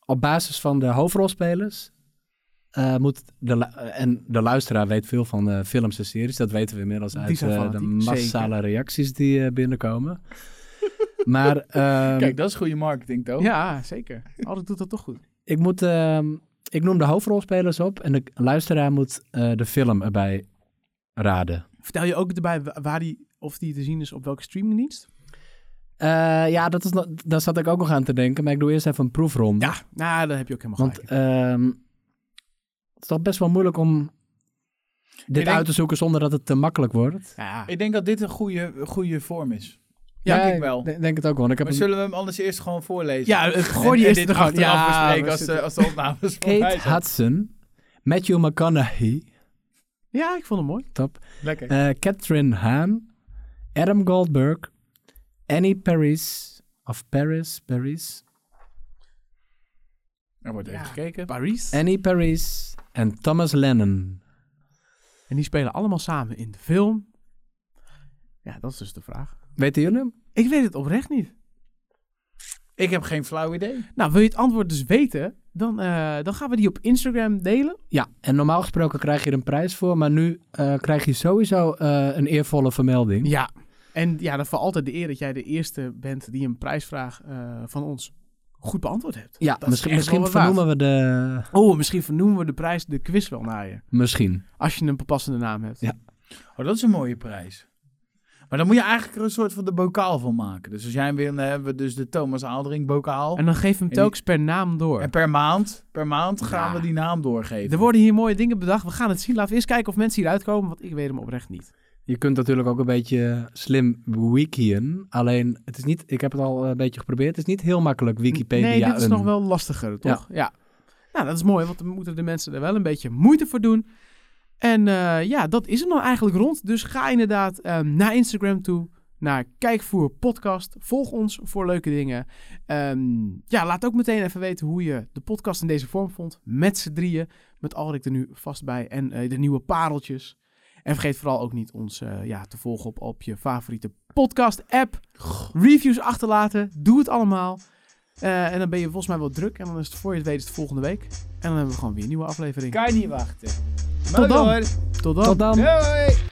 op basis van de hoofdrolspelers eh, moet de lu- en de luisteraar weet veel van eh, films en series. Dat weten we inmiddels
Die
uit
zijn
eh, de
fanatiek,
massale reacties die eh, binnenkomen. maar ehm,
Kijk, dat is goede marketing toch?
Ja, zeker. Alrik doet dat toch goed.
ik moet, ehm, ik noem de hoofdrolspelers op en de luisteraar moet eh, de film erbij raden.
Vertel je ook erbij wa- waar die, of die te zien is op welke streamingdienst?
Eh, ja, dat is, nog- daar zat ik ook nog aan te denken, maar ik doe eerst even een proefronde.
Nou, dan heb je ook helemaal
Want
gelijk.
ehm, het is toch best wel moeilijk om dit
denk-
uit te zoeken zonder dat het te makkelijk wordt.
Ja,
Ik denk dat dit een goede, goede vorm is.
Ja,
denk ik wel.
de- denk het ook wel. want Ik heb
Maar
een-
zullen we hem anders eerst gewoon voorlezen?
ja eh, gooi die
En
eerst
dit
er gewoon.
achteraf
Ja, eh,
bespreken
we
als, de,
zitten-
als de opnames voorbij
Kate
zijn.
Hudson, Matthew McConaughey,
ja, ik vond hem mooi.
top,
Lekker.
eh, Catherine Hahn, Adam Goldberg, Annie Paris, of Paris, Paris,
Er Nou, wordt even
Ja.
gekeken.
Paris. En,
Annie Paris en Thomas Lennon.
die spelen allemaal samen in de film. Ja, dat is dus de vraag.
Weten jullie hem?
Ik weet het oprecht niet.
Ik heb geen flauw idee.
Nou, wil je het antwoord dus weten, dan, eh, dan gaan we die op Instagram delen.
Ja, en normaal gesproken krijg je er een prijs voor, maar nu eh, krijg je sowieso eh, een eervolle vermelding.
Ja. En ja, dan voor altijd de eer dat jij de eerste bent die een prijsvraag eh, van ons goed beantwoord hebt.
Ja,
Dat is
misschien,
echt
misschien
wel wat waard.
vernoemen we de...
Oh, misschien vernoemen we de prijs, de quiz wel naar je.
Misschien.
Als je een passende naam hebt.
Ja.
Oh, dat is een mooie prijs. Maar dan moet je eigenlijk er een soort van de bokaal van maken. Dus als jij hem wil, dan hebben we dus de Thomas Aaldering bokaal.
En dan geef hem
En die-
telkens per naam door.
En per maand, per maand gaan
Ja.
we die naam doorgeven.
Er worden hier mooie dingen bedacht. We gaan het zien. Laten we eerst kijken of mensen hieruit komen. Want ik weet hem oprecht niet.
Je kunt natuurlijk ook een beetje slim wikien. Alleen, het is niet, ik heb het al een beetje geprobeerd. Het is niet heel makkelijk Wikipedia.
Nee, dit is
een-
nog wel lastiger, toch? Ja. Nou, dat is mooi. Want dan moeten de mensen er wel een beetje moeite voor doen. En eh, ja, dat is hem dan eigenlijk rond. Dus ga inderdaad eh, naar Instagram toe. Naar Kijkvoer Podcast. Volg ons voor leuke dingen. Ehm, ja, laat ook meteen even weten hoe je de podcast in deze vorm vond. Met z'n drieën. Met Alrik er nu vast bij. En eh, de nieuwe pareltjes. En vergeet vooral ook niet ons eh, ja, te volgen op, op je favoriete podcast-app. Reviews achterlaten. Doe het allemaal. Eh, en dan ben je volgens mij wel druk. En dan is het voor je het weet is het volgende week. En dan hebben we gewoon weer een nieuwe aflevering.
Kan je niet wachten.
Tot
Mooi
dan.
hoor.
Tot dan.
Tot dan.
Doei.